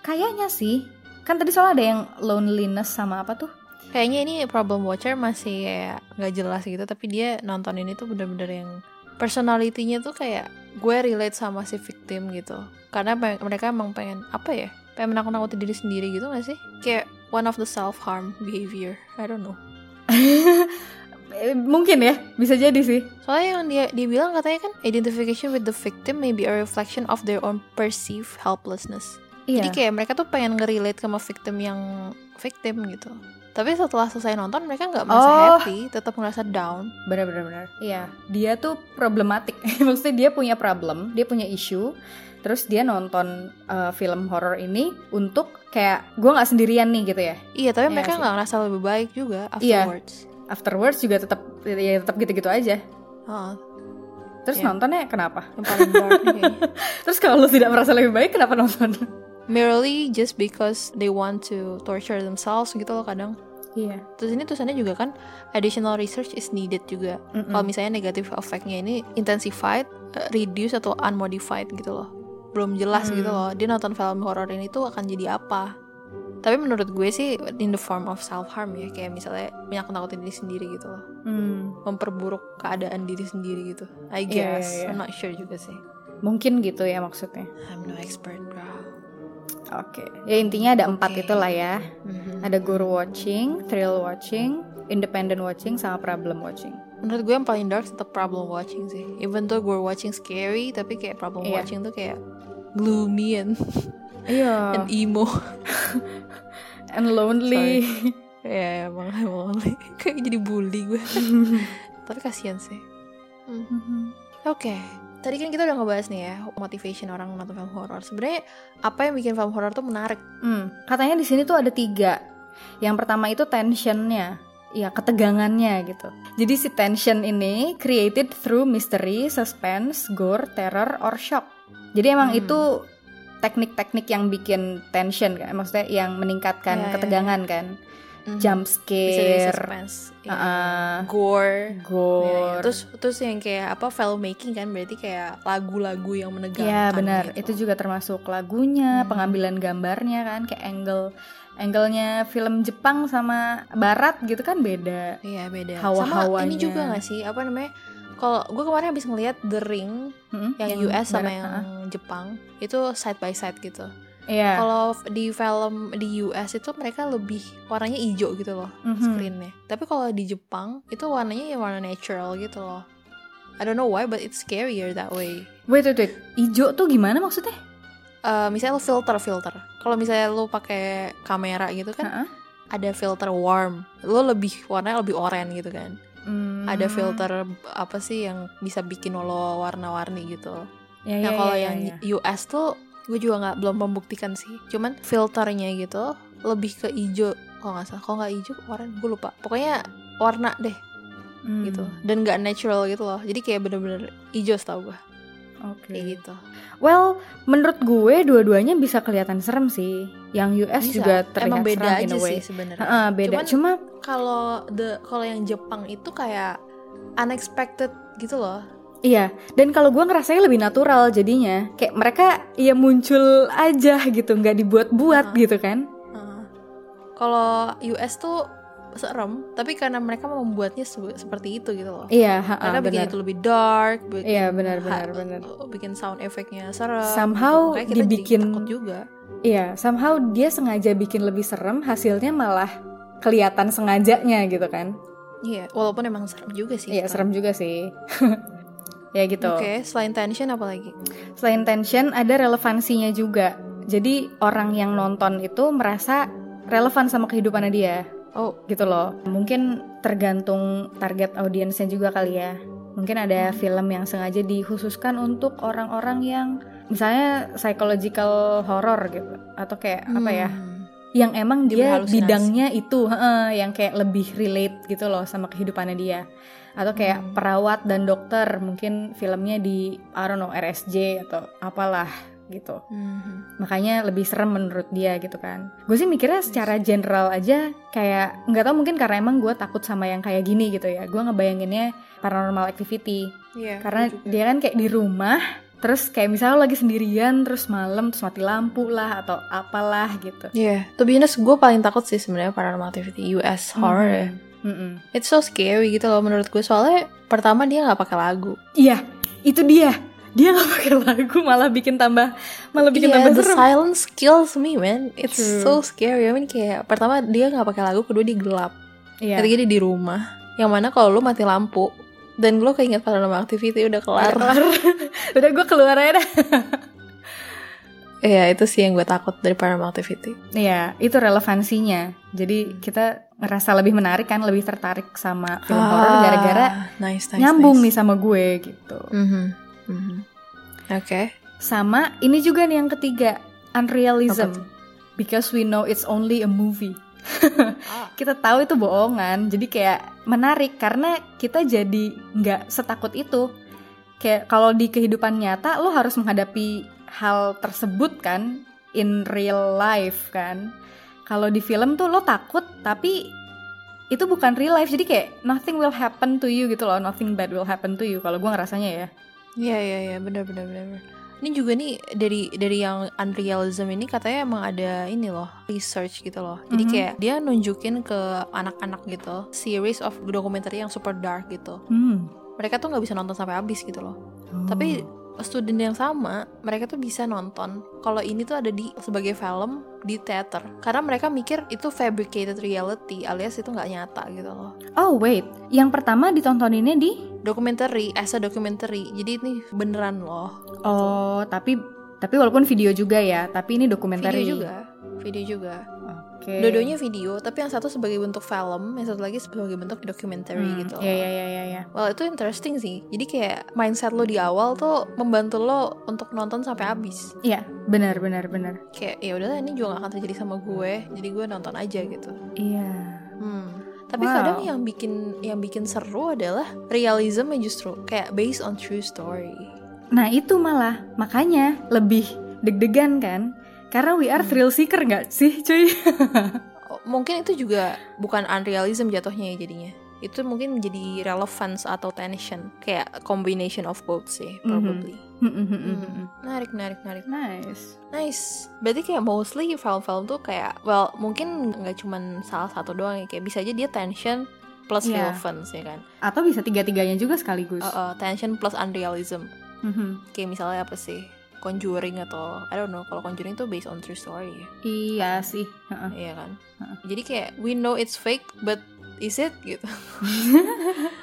Speaker 2: Kayaknya sih, kan tadi soalnya ada yang loneliness sama apa tuh?
Speaker 1: Kayaknya ini problem watcher masih kayak nggak jelas gitu, tapi dia nonton ini tuh bener-bener yang personalitinya tuh kayak gue relate sama si victim gitu. Karena pe- mereka emang pengen apa ya? Pengen menakut-nakuti diri sendiri gitu gak sih? Kayak one of the self harm behavior. I don't know.
Speaker 2: Eh, Mungkin ya, bisa jadi sih.
Speaker 1: Soalnya yang dia dibilang katanya kan identification with the victim may be a reflection of their own perceived helplessness.
Speaker 2: Iya.
Speaker 1: Jadi kayak mereka tuh pengen ngerelate sama victim yang victim gitu. Tapi setelah selesai nonton mereka nggak merasa
Speaker 2: Oh.
Speaker 1: happy, tetap merasa down.
Speaker 2: benar benar benar iya dia tuh problematik maksudnya dia punya problem dia punya issue terus dia nonton uh, film horor ini untuk kayak gue nggak sendirian nih gitu ya
Speaker 1: Iya, tapi
Speaker 2: Iya
Speaker 1: mereka
Speaker 2: sih.
Speaker 1: nggak ngerasa lebih baik juga
Speaker 2: Iya.
Speaker 1: afterwards.
Speaker 2: afterwards juga tetap ya tetap gitu gitu aja
Speaker 1: Heeh,
Speaker 2: terus
Speaker 1: Iya.
Speaker 2: nontonnya kenapa
Speaker 1: yang paling dark nih kayaknya.
Speaker 2: terus kalau lu tidak merasa lebih baik kenapa nonton
Speaker 1: Merely just because they want to torture themselves gitu loh kadang.
Speaker 2: iya
Speaker 1: Terus ini tulisannya juga kan additional research is needed juga.
Speaker 2: Mm-mm.
Speaker 1: Kalau misalnya negative effect-nya ini intensified, uh, reduced atau unmodified gitu loh. Belum jelas
Speaker 2: Hmm.
Speaker 1: gitu loh. Dia nonton film horor ini tuh akan jadi apa? Tapi menurut gue sih in the form of self harm ya, kayak misalnya menakut-nakutin diri sendiri gitu loh.
Speaker 2: Hmm,
Speaker 1: Memperburuk keadaan diri sendiri gitu. I
Speaker 2: Iya,
Speaker 1: guess,
Speaker 2: iya, iya.
Speaker 1: I'm not sure juga sih.
Speaker 2: mungkin gitu ya maksudnya
Speaker 1: I'm no expert, bro.
Speaker 2: oke ya intinya ada empat
Speaker 1: Oke.
Speaker 2: itulah ya
Speaker 1: Mhm.
Speaker 2: ada guru watching thrill watching independent watching sama problem watching
Speaker 1: Menurut gue yang paling dark tetap problem watching sih. Even though gue watching scary, tapi kayak problem
Speaker 2: Iya.
Speaker 1: watching tuh kayak gloomy and,
Speaker 2: iya
Speaker 1: and emo.
Speaker 2: and lonely.
Speaker 1: Ya emang emang lonely. Kayak jadi bully gue. Tapi kasihan sih.
Speaker 2: Mm-hmm.
Speaker 1: Oke. Tadi kan kita udah ngebahas nih ya motivation orang
Speaker 2: Mm.
Speaker 1: nonton film horor. Sebenarnya apa yang bikin film horor tuh menarik?
Speaker 2: Hmm, katanya di sini tuh ada tiga. Yang pertama itu tensionnya, ya ketegangannya gitu. Jadi si tension ini created through mystery, suspense, gore, terror, or shock. Jadi emang
Speaker 1: Hmm.
Speaker 2: itu teknik-teknik yang bikin tension kan, maksudnya yang meningkatkan
Speaker 1: Ya, ya,
Speaker 2: ketegangan kan.
Speaker 1: Mhm.
Speaker 2: Jump
Speaker 1: Bisa jadi
Speaker 2: scare,
Speaker 1: suspense. Iya.
Speaker 2: uh-uh,
Speaker 1: gore.
Speaker 2: gore.
Speaker 1: Ya, ya. Terus terus yang kayak apa film making kan berarti kayak lagu-lagu yang menegangkan.
Speaker 2: Iya benar,
Speaker 1: gitu.
Speaker 2: itu juga termasuk
Speaker 1: Hmm.
Speaker 2: lagunya, pengambilan gambarnya kan, kayak angle, angle-nya film Jepang sama Barat gitu kan beda.
Speaker 1: Iya beda. Sama
Speaker 2: Hawa-hawanya.
Speaker 1: ini juga gak sih apa namanya? Kalau gue kemarin habis ngeliat The Ring
Speaker 2: Mm-mm,
Speaker 1: yang, US sama
Speaker 2: Hmm? Barat,
Speaker 1: yang
Speaker 2: ah.
Speaker 1: Jepang itu side by side gitu.
Speaker 2: Iya.
Speaker 1: Kalau di film di US itu mereka lebih warnanya hijau gitu loh
Speaker 2: mhm.
Speaker 1: screennya. Tapi kalau di Jepang itu warnanya ya warna natural gitu loh. I don't know why but it's scarier that way.
Speaker 2: Wait wait wait, ijo tuh gimana maksudnya?
Speaker 1: Eh, misalnya lo filter filter. Kalau misalnya lo pakai kamera gitu kan
Speaker 2: Ha-ha.
Speaker 1: ada filter warm. Lo lebih warnanya lebih oranye gitu kan.
Speaker 2: Hmm.
Speaker 1: Ada filter apa sih yang bisa bikin lo warna-warni gitu.
Speaker 2: Ya,
Speaker 1: Nah
Speaker 2: ya,
Speaker 1: kalau
Speaker 2: ya,
Speaker 1: yang
Speaker 2: ya.
Speaker 1: US tuh gue juga nggak belum membuktikan sih. Cuman filternya gitu lebih ke ijo kalau nggak salah. Kalau nggak ijo warna gue lupa. Pokoknya warna deh
Speaker 2: Hmm,
Speaker 1: gitu. Dan nggak natural gitu loh. Jadi kayak bener-bener ijo setahu gue
Speaker 2: Oke.
Speaker 1: kayak gitu.
Speaker 2: Well, menurut gue dua-duanya bisa kelihatan serem sih. Yang US
Speaker 1: Bisa.
Speaker 2: juga terlihat
Speaker 1: Emang beda
Speaker 2: serem in
Speaker 1: aja
Speaker 2: a way.
Speaker 1: sih sebenarnya.
Speaker 2: Ha-ha, beda.
Speaker 1: Cuman-
Speaker 2: Cuma
Speaker 1: Kalau the kalau yang Jepang itu kayak unexpected gitu loh.
Speaker 2: Iya, dan kalau gue ngerasanya lebih natural jadinya. Kayak mereka ya muncul aja gitu, nggak dibuat-buat
Speaker 1: Ah.
Speaker 2: gitu kan.
Speaker 1: Heeh. Kalau US tuh serem, tapi karena mereka mau membuatnya se- seperti itu gitu loh.
Speaker 2: Iya, ha-ha,
Speaker 1: Mereka bikin
Speaker 2: benar.
Speaker 1: itu lebih dark, bikin
Speaker 2: Iya, benar, benar,
Speaker 1: ha-
Speaker 2: benar.
Speaker 1: bikin sound efeknya serem.
Speaker 2: Somehow
Speaker 1: Makanya kita jadi
Speaker 2: dibikin-
Speaker 1: takut juga.
Speaker 2: Iya, somehow dia sengaja bikin lebih serem, hasilnya malah kelihatan sengajanya gitu kan.
Speaker 1: Iya, walaupun emang serem juga sih.
Speaker 2: Iya,
Speaker 1: itu.
Speaker 2: serem juga sih. ya gitu.
Speaker 1: Oke, selain tension apa lagi?
Speaker 2: Selain tension, ada relevansinya juga. Jadi orang yang nonton itu merasa relevan sama kehidupannya dia.
Speaker 1: Oh,
Speaker 2: gitu loh. Mungkin tergantung target audiensnya juga kali ya. Mungkin ada film yang sengaja dikhususkan untuk orang-orang yang misalnya psychological horror gitu atau kayak apa ya?
Speaker 1: hmm,
Speaker 2: Yang emang
Speaker 1: Dia
Speaker 2: dia
Speaker 1: berhalusinasi.
Speaker 2: bidangnya itu, heeh, yang kayak lebih relate gitu loh sama kehidupannya dia. Atau kayak
Speaker 1: Hmm.
Speaker 2: perawat dan dokter, mungkin filmnya di I don't know RSJ atau apalah gitu
Speaker 1: hmm,
Speaker 2: makanya lebih serem menurut dia gitu kan gue sih mikirnya secara general aja kayak nggak tahu mungkin karena emang gue takut sama yang kayak gini gitu ya gue ngebayanginnya paranormal activity
Speaker 1: Iya.
Speaker 2: karena
Speaker 1: gue juga.
Speaker 2: dia kan kayak di rumah terus kayak misalnya lo lagi sendirian terus malam terus mati lampu lah atau apalah gitu
Speaker 1: Iya, to be honest, gue paling takut sih sebenarnya paranormal activity US
Speaker 2: Hmm.
Speaker 1: horror ya.
Speaker 2: Mm-mm.
Speaker 1: It's so scary gitu loh menurut gue soalnya pertama dia nggak pakai lagu.
Speaker 2: iya itu dia dia nggak pakai lagu malah bikin tambah malah bikin
Speaker 1: Iya,
Speaker 2: tambah
Speaker 1: the
Speaker 2: serem
Speaker 1: silence kills me man. It's so
Speaker 2: True.
Speaker 1: scary. I mean kayak pertama dia nggak pakai lagu, kedua dia gelap.
Speaker 2: Iya.
Speaker 1: Ketiga dia di rumah. Yang mana kalau lu mati lampu dan lu keinget paranormal activity udah kelar.
Speaker 2: udah gue keluar aja dah.
Speaker 1: Iya, itu sih yang gue takut dari paranormal activity.
Speaker 2: Iya, itu relevansinya. Jadi kita ngerasa lebih menarik kan, lebih tertarik sama film
Speaker 1: Ah,
Speaker 2: horor gara-gara
Speaker 1: nice, nice,
Speaker 2: nyambung
Speaker 1: nice.
Speaker 2: nih sama gue gitu.
Speaker 1: Mhm, mhm. Oke.
Speaker 2: Sama ini juga nih yang ketiga,
Speaker 1: Apa
Speaker 2: unrealism. Because we know it's only a movie.
Speaker 1: Ah.
Speaker 2: Kita tahu itu bohongan, jadi kayak menarik karena kita jadi nggak setakut itu. Kayak kalau di kehidupan nyata lo harus menghadapi hal tersebut kan in real life kan. Kalau di film tuh lo takut tapi itu bukan real life jadi kayak nothing will happen to you gitu loh, nothing bad will happen to you kalau gue ngerasanya ya.
Speaker 1: Iya iya iya benar benar benar. benar. Ini juga nih dari dari yang unrealism ini katanya emang ada ini loh research gitu loh. Jadi
Speaker 2: Mhm.
Speaker 1: kayak dia nunjukin ke anak-anak gitu series of dokumenter yang super dark gitu.
Speaker 2: Hmm.
Speaker 1: Mereka tuh nggak bisa nonton sampai habis gitu loh. Tapi
Speaker 2: Oh.
Speaker 1: student yang sama mereka tuh bisa nonton kalau ini tuh ada di sebagai film di teater karena mereka mikir itu fabricated reality alias itu nggak nyata gitu loh
Speaker 2: Oh wait, yang pertama ditontoninnya di
Speaker 1: documentary as a documentary jadi ini beneran loh
Speaker 2: Oh, tapi tapi walaupun video juga ya, tapi ini dokumenter
Speaker 1: Video juga, video juga.
Speaker 2: Oke. Oke.
Speaker 1: Dua-duanya video, tapi yang satu sebagai bentuk film, yang satu lagi sebagai bentuk documentary
Speaker 2: Hmm,
Speaker 1: gitu.
Speaker 2: Iya, iya, iya, iya, iya.
Speaker 1: Well itu interesting sih. Jadi kayak mindset lo di awal tuh membantu lo untuk nonton sampai habis.
Speaker 2: Iya, benar, benar, benar.
Speaker 1: Kayak ya udahlah ini juga gak akan terjadi sama gue, jadi gue nonton aja gitu.
Speaker 2: Iya.
Speaker 1: Hmm. Tapi
Speaker 2: Wow.
Speaker 1: kadang yang bikin yang bikin seru adalah realismnya justru kayak based on true story.
Speaker 2: Nah, itu malah makanya lebih deg-degan kan? Karena we are thrill seeker nggak sih, cuy?
Speaker 1: Oh, Mungkin itu juga bukan unrealism jatuhnya ya jadinya. Itu mungkin menjadi relevance atau tension, kayak combination of both sih
Speaker 2: Mhm.
Speaker 1: probably. Hmm. Menarik, menarik, menarik.
Speaker 2: nice.
Speaker 1: Nice. Berarti kayak mostly film-film tuh kayak, well mungkin nggak cuman salah satu doang ya, kayak bisa aja dia tension plus
Speaker 2: Iya.
Speaker 1: relevance ya kan.
Speaker 2: Atau bisa tiga-tiganya juga sekaligus.
Speaker 1: Uh, uh, tension plus unrealism.
Speaker 2: Mhm.
Speaker 1: Kayak misalnya apa sih? Conjuring atau I don't know. Kalau Conjuring tuh based on true story ya.
Speaker 2: Iya sih. Heeh.
Speaker 1: Iya kan?
Speaker 2: Heeh.
Speaker 1: Jadi kayak we know it's fake but is it gitu.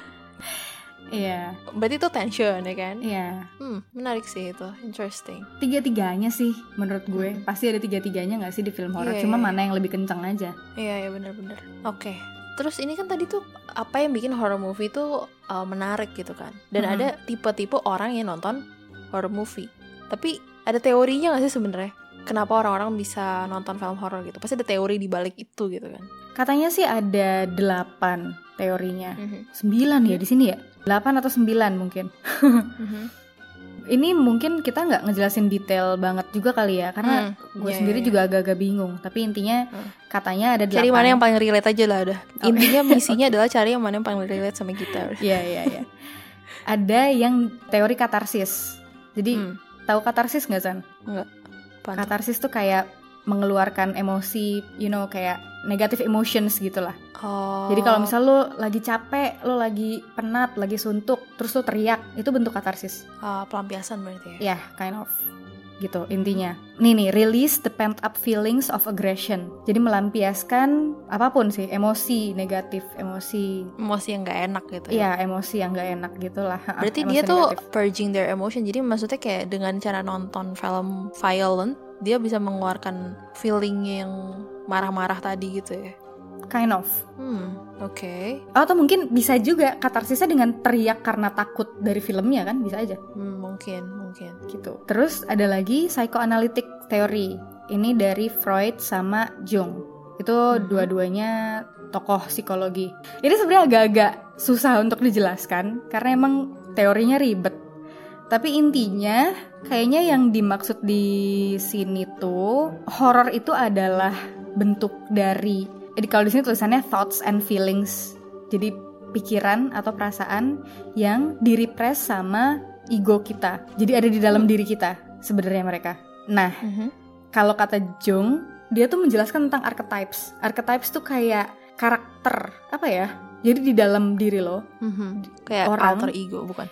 Speaker 2: Iya,
Speaker 1: Berarti itu tension ya kan?
Speaker 2: iya.
Speaker 1: Hmm, menarik sih itu. Interesting.
Speaker 2: Tiga-tiganya sih menurut gue.
Speaker 1: Mhm.
Speaker 2: Pasti ada tiga-tiganya nggak sih di film horor?
Speaker 1: Iya,
Speaker 2: Cuma
Speaker 1: iya.
Speaker 2: mana yang lebih kenceng aja.
Speaker 1: Iya, iya benar-benar. Oke. Terus ini kan tadi tuh apa yang bikin horror movie tuh uh, menarik gitu kan. Dan
Speaker 2: Mhm.
Speaker 1: ada tipe-tipe orang yang nonton horror movie. Tapi ada teorinya gak sih sebenarnya? Kenapa orang-orang bisa nonton film horor gitu? Pasti ada teori di balik itu gitu kan.
Speaker 2: Katanya sih ada delapan teorinya.
Speaker 1: Mhm.
Speaker 2: Sembilan ya di sini ya? Delapan atau sembilan mungkin.
Speaker 1: Mhm.
Speaker 2: Ini mungkin kita nggak ngejelasin detail banget juga kali ya, karena
Speaker 1: Hmm,
Speaker 2: gue
Speaker 1: iya,
Speaker 2: sendiri
Speaker 1: iya,
Speaker 2: juga agak-agak bingung. Tapi intinya
Speaker 1: Hmm.
Speaker 2: katanya ada delapan.
Speaker 1: Cari mana yang paling relate aja lah udah.
Speaker 2: Oh,
Speaker 1: Intinya misinya adalah cari yang mana yang paling relate sama kita.
Speaker 2: Iya iya iya. ada yang teori katarsis. Jadi
Speaker 1: Hmm.
Speaker 2: tahu katarsis nggak San?
Speaker 1: apaan tuh?
Speaker 2: Katarsis tuh kayak mengeluarkan emosi, you know, kayak negative emotions gitu gitulah.
Speaker 1: Oh.
Speaker 2: Jadi kalau misal lo lagi capek, lo lagi penat, lagi suntuk, terus lo teriak, itu bentuk katarsis.
Speaker 1: Ah, pelampiasan berarti ya.
Speaker 2: Ya, kind of gitu intinya. Nih nih, release the pent up feelings of aggression. Jadi melampiaskan apapun sih, emosi negatif, emosi
Speaker 1: Emosi yang nggak enak gitu. ya.
Speaker 2: Iya, emosi yang nggak enak gitulah. Ha,
Speaker 1: Berarti
Speaker 2: emosi
Speaker 1: dia tuh
Speaker 2: negatif.
Speaker 1: purging their emotion. Jadi maksudnya kayak dengan cara nonton film violent, dia bisa mengeluarkan feeling yang marah-marah tadi gitu ya.
Speaker 2: kind of.
Speaker 1: Hmm, oke.
Speaker 2: Atau mungkin bisa juga katarsisnya dengan teriak karena takut dari filmnya kan, bisa aja
Speaker 1: Hmm, mungkin, mungkin.
Speaker 2: gitu. Terus ada lagi psychoanalytic theory. Ini dari Freud sama Jung. Itu
Speaker 1: Mhm.
Speaker 2: dua-duanya tokoh psikologi. Ini sebenarnya agak-agak susah untuk dijelaskan karena emang teorinya ribet. Tapi intinya kayaknya yang dimaksud di sini tuh horor itu adalah bentuk dari eh, kalau di sini tulisannya thoughts and feelings. Jadi pikiran atau perasaan yang direpress sama ego kita. Jadi ada di dalam diri kita sebenarnya mereka. Nah,
Speaker 1: Mhm.
Speaker 2: kalau kata Jung, dia tuh menjelaskan tentang archetypes. Archetypes tuh kayak karakter apa ya? Jadi di dalam diri lo.
Speaker 1: Mhm. Kayak
Speaker 2: Orang.
Speaker 1: alter ego bukan?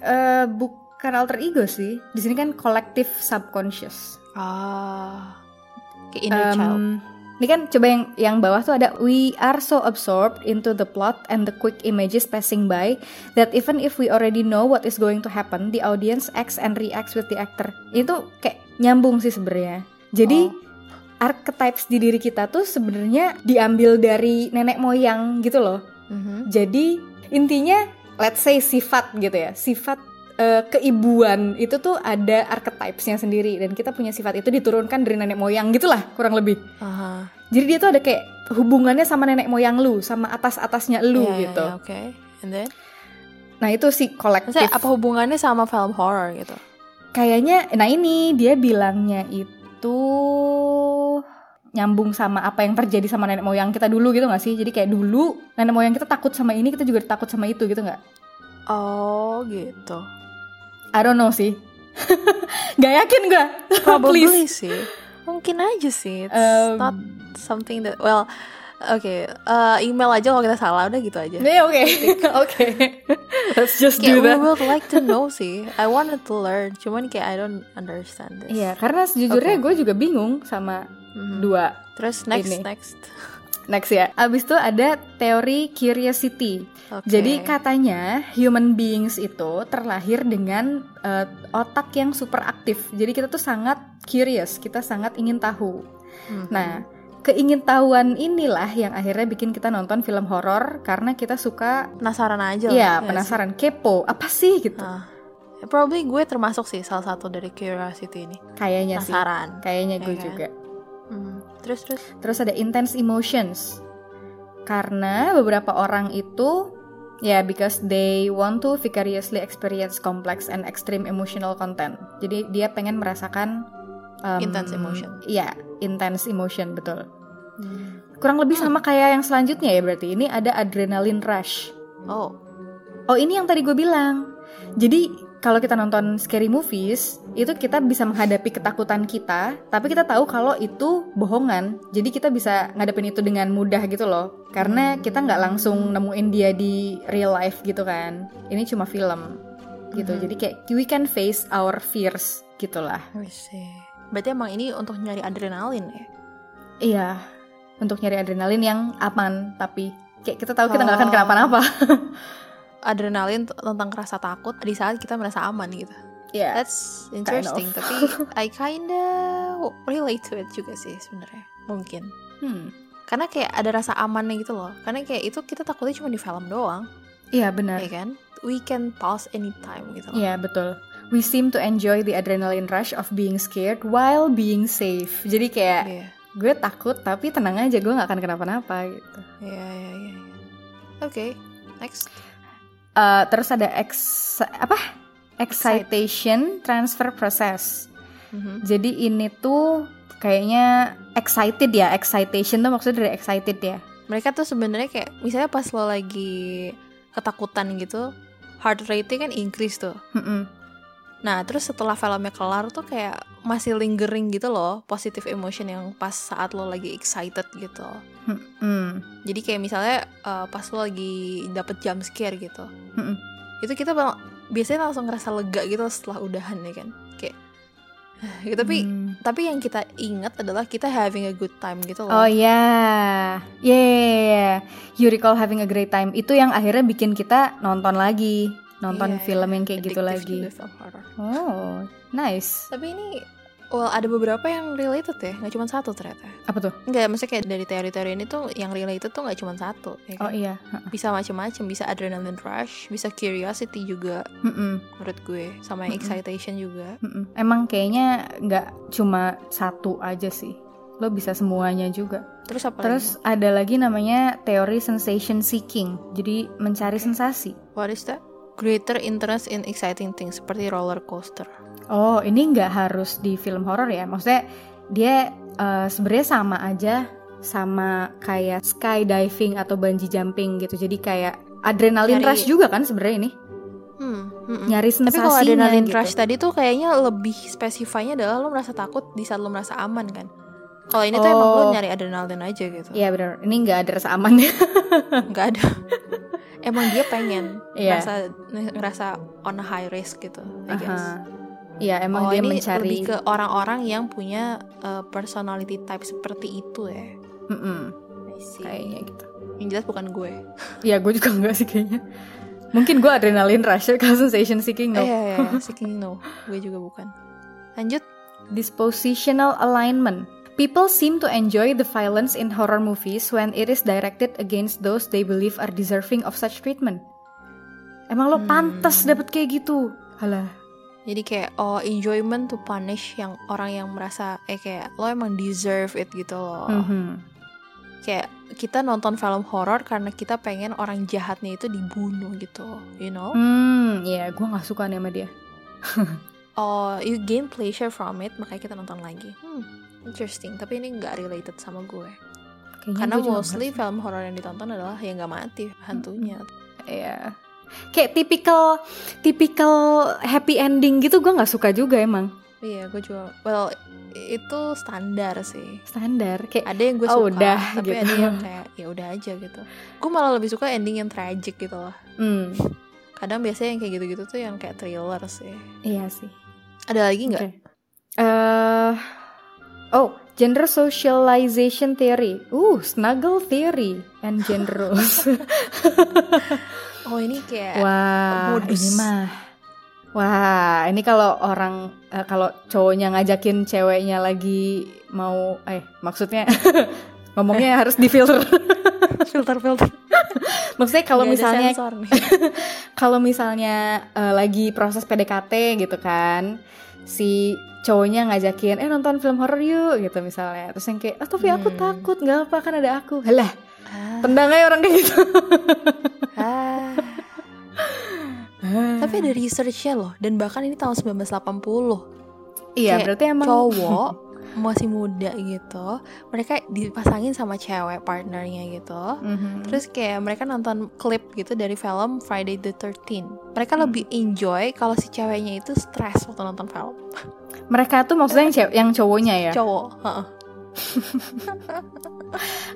Speaker 2: Eh bukan alter ego sih. Di sini kan collective subconscious.
Speaker 1: Ah, kayak inner
Speaker 2: Em,
Speaker 1: child.
Speaker 2: Ini kan coba yang yang bawah tuh ada we are so absorbed into the plot and the quick images passing by that even if we already know what is going to happen, the audience acts and reacts with the actor. Itu kayak nyambung sih sebenarnya. Jadi archetypes di diri kita tuh sebenarnya diambil dari nenek moyang gitu loh.
Speaker 1: Mhm.
Speaker 2: Jadi intinya let's say sifat gitu ya. Sifat eh, keibuan itu tuh ada archetypesnya sendiri dan kita punya sifat itu diturunkan dari nenek moyang gitulah kurang lebih.
Speaker 1: Aha.
Speaker 2: Jadi dia tuh ada kayak hubungannya sama nenek moyang lu, sama atas-atasnya lu
Speaker 1: Iya, iya,
Speaker 2: gitu.
Speaker 1: iya, Oke. And then?
Speaker 2: Nah, itu si kolektif.
Speaker 1: Maksudnya apa hubungannya sama film horror gitu?
Speaker 2: Kayaknya nah ini dia bilangnya itu nyambung sama apa yang terjadi sama nenek moyang kita dulu gitu gak sih? Jadi kayak dulu nenek moyang kita takut sama ini, kita juga takut sama itu gitu nggak?
Speaker 1: Oh gitu.
Speaker 2: I don't know sih. gak yakin gue.
Speaker 1: Probably sih. Mungkin aja sih. It's
Speaker 2: Um,
Speaker 1: not something that well. Oke, eh, email aja kalau kita salah udah gitu aja.
Speaker 2: Ya oke. Oke. Let's just
Speaker 1: Kayak
Speaker 2: do
Speaker 1: we
Speaker 2: that.
Speaker 1: would like to know sih. I wanted to learn, cuman kayak I don't understand this.
Speaker 2: Iya, karena sejujurnya
Speaker 1: Oke.
Speaker 2: gue juga bingung sama
Speaker 1: Mhm.
Speaker 2: dua
Speaker 1: Terus next
Speaker 2: Ini.
Speaker 1: next.
Speaker 2: Next ya. Abis itu ada teori curiosity.
Speaker 1: Oke.
Speaker 2: Jadi katanya human beings itu terlahir dengan eh, otak yang super aktif. Jadi kita tuh sangat curious, kita sangat ingin tahu.
Speaker 1: Mhm.
Speaker 2: Nah, keingintahuan inilah yang akhirnya bikin kita nonton film horor karena kita suka
Speaker 1: penasaran aja lah,
Speaker 2: ya
Speaker 1: Iya, sih?
Speaker 2: penasaran kepo apa sih gitu
Speaker 1: Ah. Ya, probably gue termasuk sih salah satu dari curiosity ini
Speaker 2: kayaknya Iya sih
Speaker 1: penasaran
Speaker 2: kayaknya
Speaker 1: ya
Speaker 2: gue
Speaker 1: kan?
Speaker 2: juga
Speaker 1: Hmm, terus terus
Speaker 2: Terus ada intense emotions. Karena beberapa orang itu ya because they want to vicariously experience complex and extreme emotional content. Jadi dia pengen merasakan um,
Speaker 1: Intense emotion.
Speaker 2: Iya, intense emotion betul. Kurang lebih sama
Speaker 1: Hmm.
Speaker 2: kayak yang selanjutnya ya berarti. Ini ada adrenaline rush.
Speaker 1: oh
Speaker 2: Oh, ini yang tadi gue bilang. Jadi kalau kita nonton scary movies, itu kita bisa menghadapi ketakutan kita, tapi kita tahu kalau itu bohongan. Jadi kita bisa ngadepin itu dengan mudah gitu loh. Karena kita nggak langsung nemuin dia di real life gitu kan. Ini cuma film gitu.
Speaker 1: Mhm.
Speaker 2: Jadi kayak we can face our fears gitulah.
Speaker 1: I see. berarti emang ini untuk nyari adrenalin ya
Speaker 2: Iya. Untuk nyari adrenalin yang aman, tapi kayak kita tahu kita nggak akan
Speaker 1: Oh.
Speaker 2: kenapa-napa.
Speaker 1: adrenalin t- tentang rasa takut di saat kita merasa aman gitu
Speaker 2: Iya.
Speaker 1: that's interesting
Speaker 2: of.
Speaker 1: tapi I kinda relate to it juga sih sebenarnya mungkin
Speaker 2: Hmm.
Speaker 1: karena kayak ada rasa amannya gitu loh karena kayak itu kita takutnya cuma di film doang
Speaker 2: Iya benar.
Speaker 1: ya kan we can pause anytime gitu loh
Speaker 2: Iya betul. We seem to enjoy the adrenaline rush of being scared while being safe. Jadi kayak
Speaker 1: Iya.
Speaker 2: gue takut tapi tenang aja gue nggak akan kenapa-napa gitu.
Speaker 1: Iya, iya, iya. iya. Oke, next.
Speaker 2: Eh, terus ada ex apa? Excitation transfer process.
Speaker 1: Mhm.
Speaker 2: Jadi ini tuh kayaknya excited ya. Excitation tuh maksudnya dari excited ya.
Speaker 1: Mereka tuh sebenarnya kayak misalnya pas lo lagi ketakutan gitu, heart rate-nya kan increase tuh.
Speaker 2: Mm-mm.
Speaker 1: Nah, terus setelah filmnya kelar tuh kayak masih lingering gitu loh, positive emotion yang pas saat lo lagi excited gitu.
Speaker 2: Mm-mm.
Speaker 1: Jadi kayak misalnya uh, pas lo lagi dapet jump scare gitu.
Speaker 2: Mm-mm.
Speaker 1: Itu kita bal- biasanya langsung ngerasa lega gitu setelah udahan ya kan. Kayak gitu, tapi
Speaker 2: Mm.
Speaker 1: tapi yang kita ingat adalah kita having a good time gitu loh.
Speaker 2: Oh ya, yeah. yeah. iya. you recall having a great time itu yang akhirnya bikin kita nonton lagi, nonton
Speaker 1: Iya,
Speaker 2: film yang kayak gitu
Speaker 1: addictive
Speaker 2: lagi.
Speaker 1: juga film horror.
Speaker 2: Oh, nice.
Speaker 1: Tapi ini well ada beberapa yang related ya, nggak cuma satu ternyata.
Speaker 2: Apa tuh?
Speaker 1: Nggak, maksudnya kayak dari teori-teori ini tuh yang related tuh nggak cuma satu. ya
Speaker 2: Oh
Speaker 1: kan?
Speaker 2: iya.
Speaker 1: Bisa macam-macam, bisa adrenaline rush, bisa curiosity juga
Speaker 2: Mm-mm,
Speaker 1: menurut gue, sama yang
Speaker 2: Mm-mm.
Speaker 1: excitation juga.
Speaker 2: mm-mm. Emang kayaknya nggak cuma satu aja sih. Lo bisa semuanya juga.
Speaker 1: Terus apa
Speaker 2: Terus ada lagi namanya teori sensation seeking. Jadi mencari sensasi.
Speaker 1: lagi? What is that? Greater interest in exciting things seperti roller coaster.
Speaker 2: Oh, ini nggak harus di film horor ya? Maksudnya dia eh, sebenarnya sama aja sama kayak skydiving atau bungee jumping gitu. Jadi kayak adrenalin
Speaker 1: Nyari-
Speaker 2: rush juga kan sebenarnya ini.
Speaker 1: Hmm. mm-mm.
Speaker 2: Nyari
Speaker 1: Tapi
Speaker 2: sensasinya
Speaker 1: kalau adrenaline
Speaker 2: gitu.
Speaker 1: rush tadi tuh kayaknya lebih spesifiknya adalah lo merasa takut di saat lo merasa aman kan. Kalau ini tuh emang lo
Speaker 2: Oh.
Speaker 1: nyari adrenalin aja gitu.
Speaker 2: Iya benar. Ini nggak ada rasa aman ya.
Speaker 1: nggak ada emang dia pengen
Speaker 2: Iya.
Speaker 1: ngerasa ngerasa on a high risk gitu I guess
Speaker 2: Aha. Iya, emang
Speaker 1: oh
Speaker 2: dia
Speaker 1: ini
Speaker 2: mencari
Speaker 1: lebih ke orang-orang yang punya uh, personality type seperti itu ya
Speaker 2: Mm-mm,
Speaker 1: I see.
Speaker 2: kayaknya gitu.
Speaker 1: yang jelas bukan gue
Speaker 2: Iya, gue juga nggak sih kayaknya. Mungkin gue adrenalin rush, kalau sensation seeking no.
Speaker 1: eh, ya, ya, ya. Seeking no gue juga bukan lanjut
Speaker 2: Dispositional alignment. People seem to enjoy the violence in horror movies when it is directed against those they believe are deserving of such treatment. Emang lo
Speaker 1: Hmm.
Speaker 2: pantas dapet kayak gitu? Alah.
Speaker 1: jadi kayak oh enjoyment to punish yang orang yang merasa eh kayak lo emang deserve it gitu loh
Speaker 2: Mhm.
Speaker 1: kayak kita nonton film horor karena kita pengen orang jahatnya itu dibunuh gitu you know
Speaker 2: Hmm, ya gue nggak suka nih sama dia.
Speaker 1: Oh, you gain pleasure from it, makanya kita nonton lagi. Hmm, interesting. Tapi ini nggak related sama gue.
Speaker 2: Kayaknya
Speaker 1: Karena
Speaker 2: Iya, gua juga
Speaker 1: mostly
Speaker 2: nggak suka.
Speaker 1: film horor yang ditonton adalah yang nggak mati hantunya.
Speaker 2: Iya. Kayak tipikal tipikal happy ending gitu gue nggak suka juga emang.
Speaker 1: Iya, gue juga. Well, itu standar sih.
Speaker 2: Standar. Kayak
Speaker 1: Ada yang gue
Speaker 2: Oh,
Speaker 1: suka,
Speaker 2: udah,
Speaker 1: tapi
Speaker 2: gitu.
Speaker 1: ada yang kayak ya udah aja gitu. Gue malah lebih suka ending yang tragic gitu loh.
Speaker 2: hmm,
Speaker 1: Kadang biasanya yang kayak gitu-gitu tuh yang kayak thriller sih.
Speaker 2: iya sih.
Speaker 1: Ada lagi nggak?
Speaker 2: Oke. Eh, oh, gender socialization theory. Uh, snuggle theory and gender roles.
Speaker 1: Oh, ini kayak
Speaker 2: Wah,
Speaker 1: modus.
Speaker 2: ini mah. Wah, ini kalau orang eh, kalau cowoknya ngajakin ceweknya lagi mau eh maksudnya Ngomongnya harus difilter.
Speaker 1: filter filter
Speaker 2: Maksudnya kalau misalnya
Speaker 1: sensor nih.
Speaker 2: kalau misalnya eh, lagi proses PDKT gitu kan si cowoknya ngajakin eh nonton film horor yuk gitu misalnya terus yang kayak ah tapi aku
Speaker 1: Hmm.
Speaker 2: takut nggak apa kan ada aku lah
Speaker 1: Ah,
Speaker 2: tendang aja orang kayak gitu
Speaker 1: ah. tapi ada researchnya loh dan bahkan ini tahun 1980
Speaker 2: iya
Speaker 1: kayak
Speaker 2: berarti emang
Speaker 1: cowok masih muda gitu mereka dipasangin sama cewek partnernya gitu
Speaker 2: Mhm.
Speaker 1: Terus kayak mereka nonton klip gitu dari film Friday the 13th. Mereka
Speaker 2: Hmm.
Speaker 1: lebih enjoy kalau si ceweknya itu stres waktu nonton film.
Speaker 2: mereka tuh maksudnya yang, cew- yang cowoknya ya
Speaker 1: Cowok, heeh.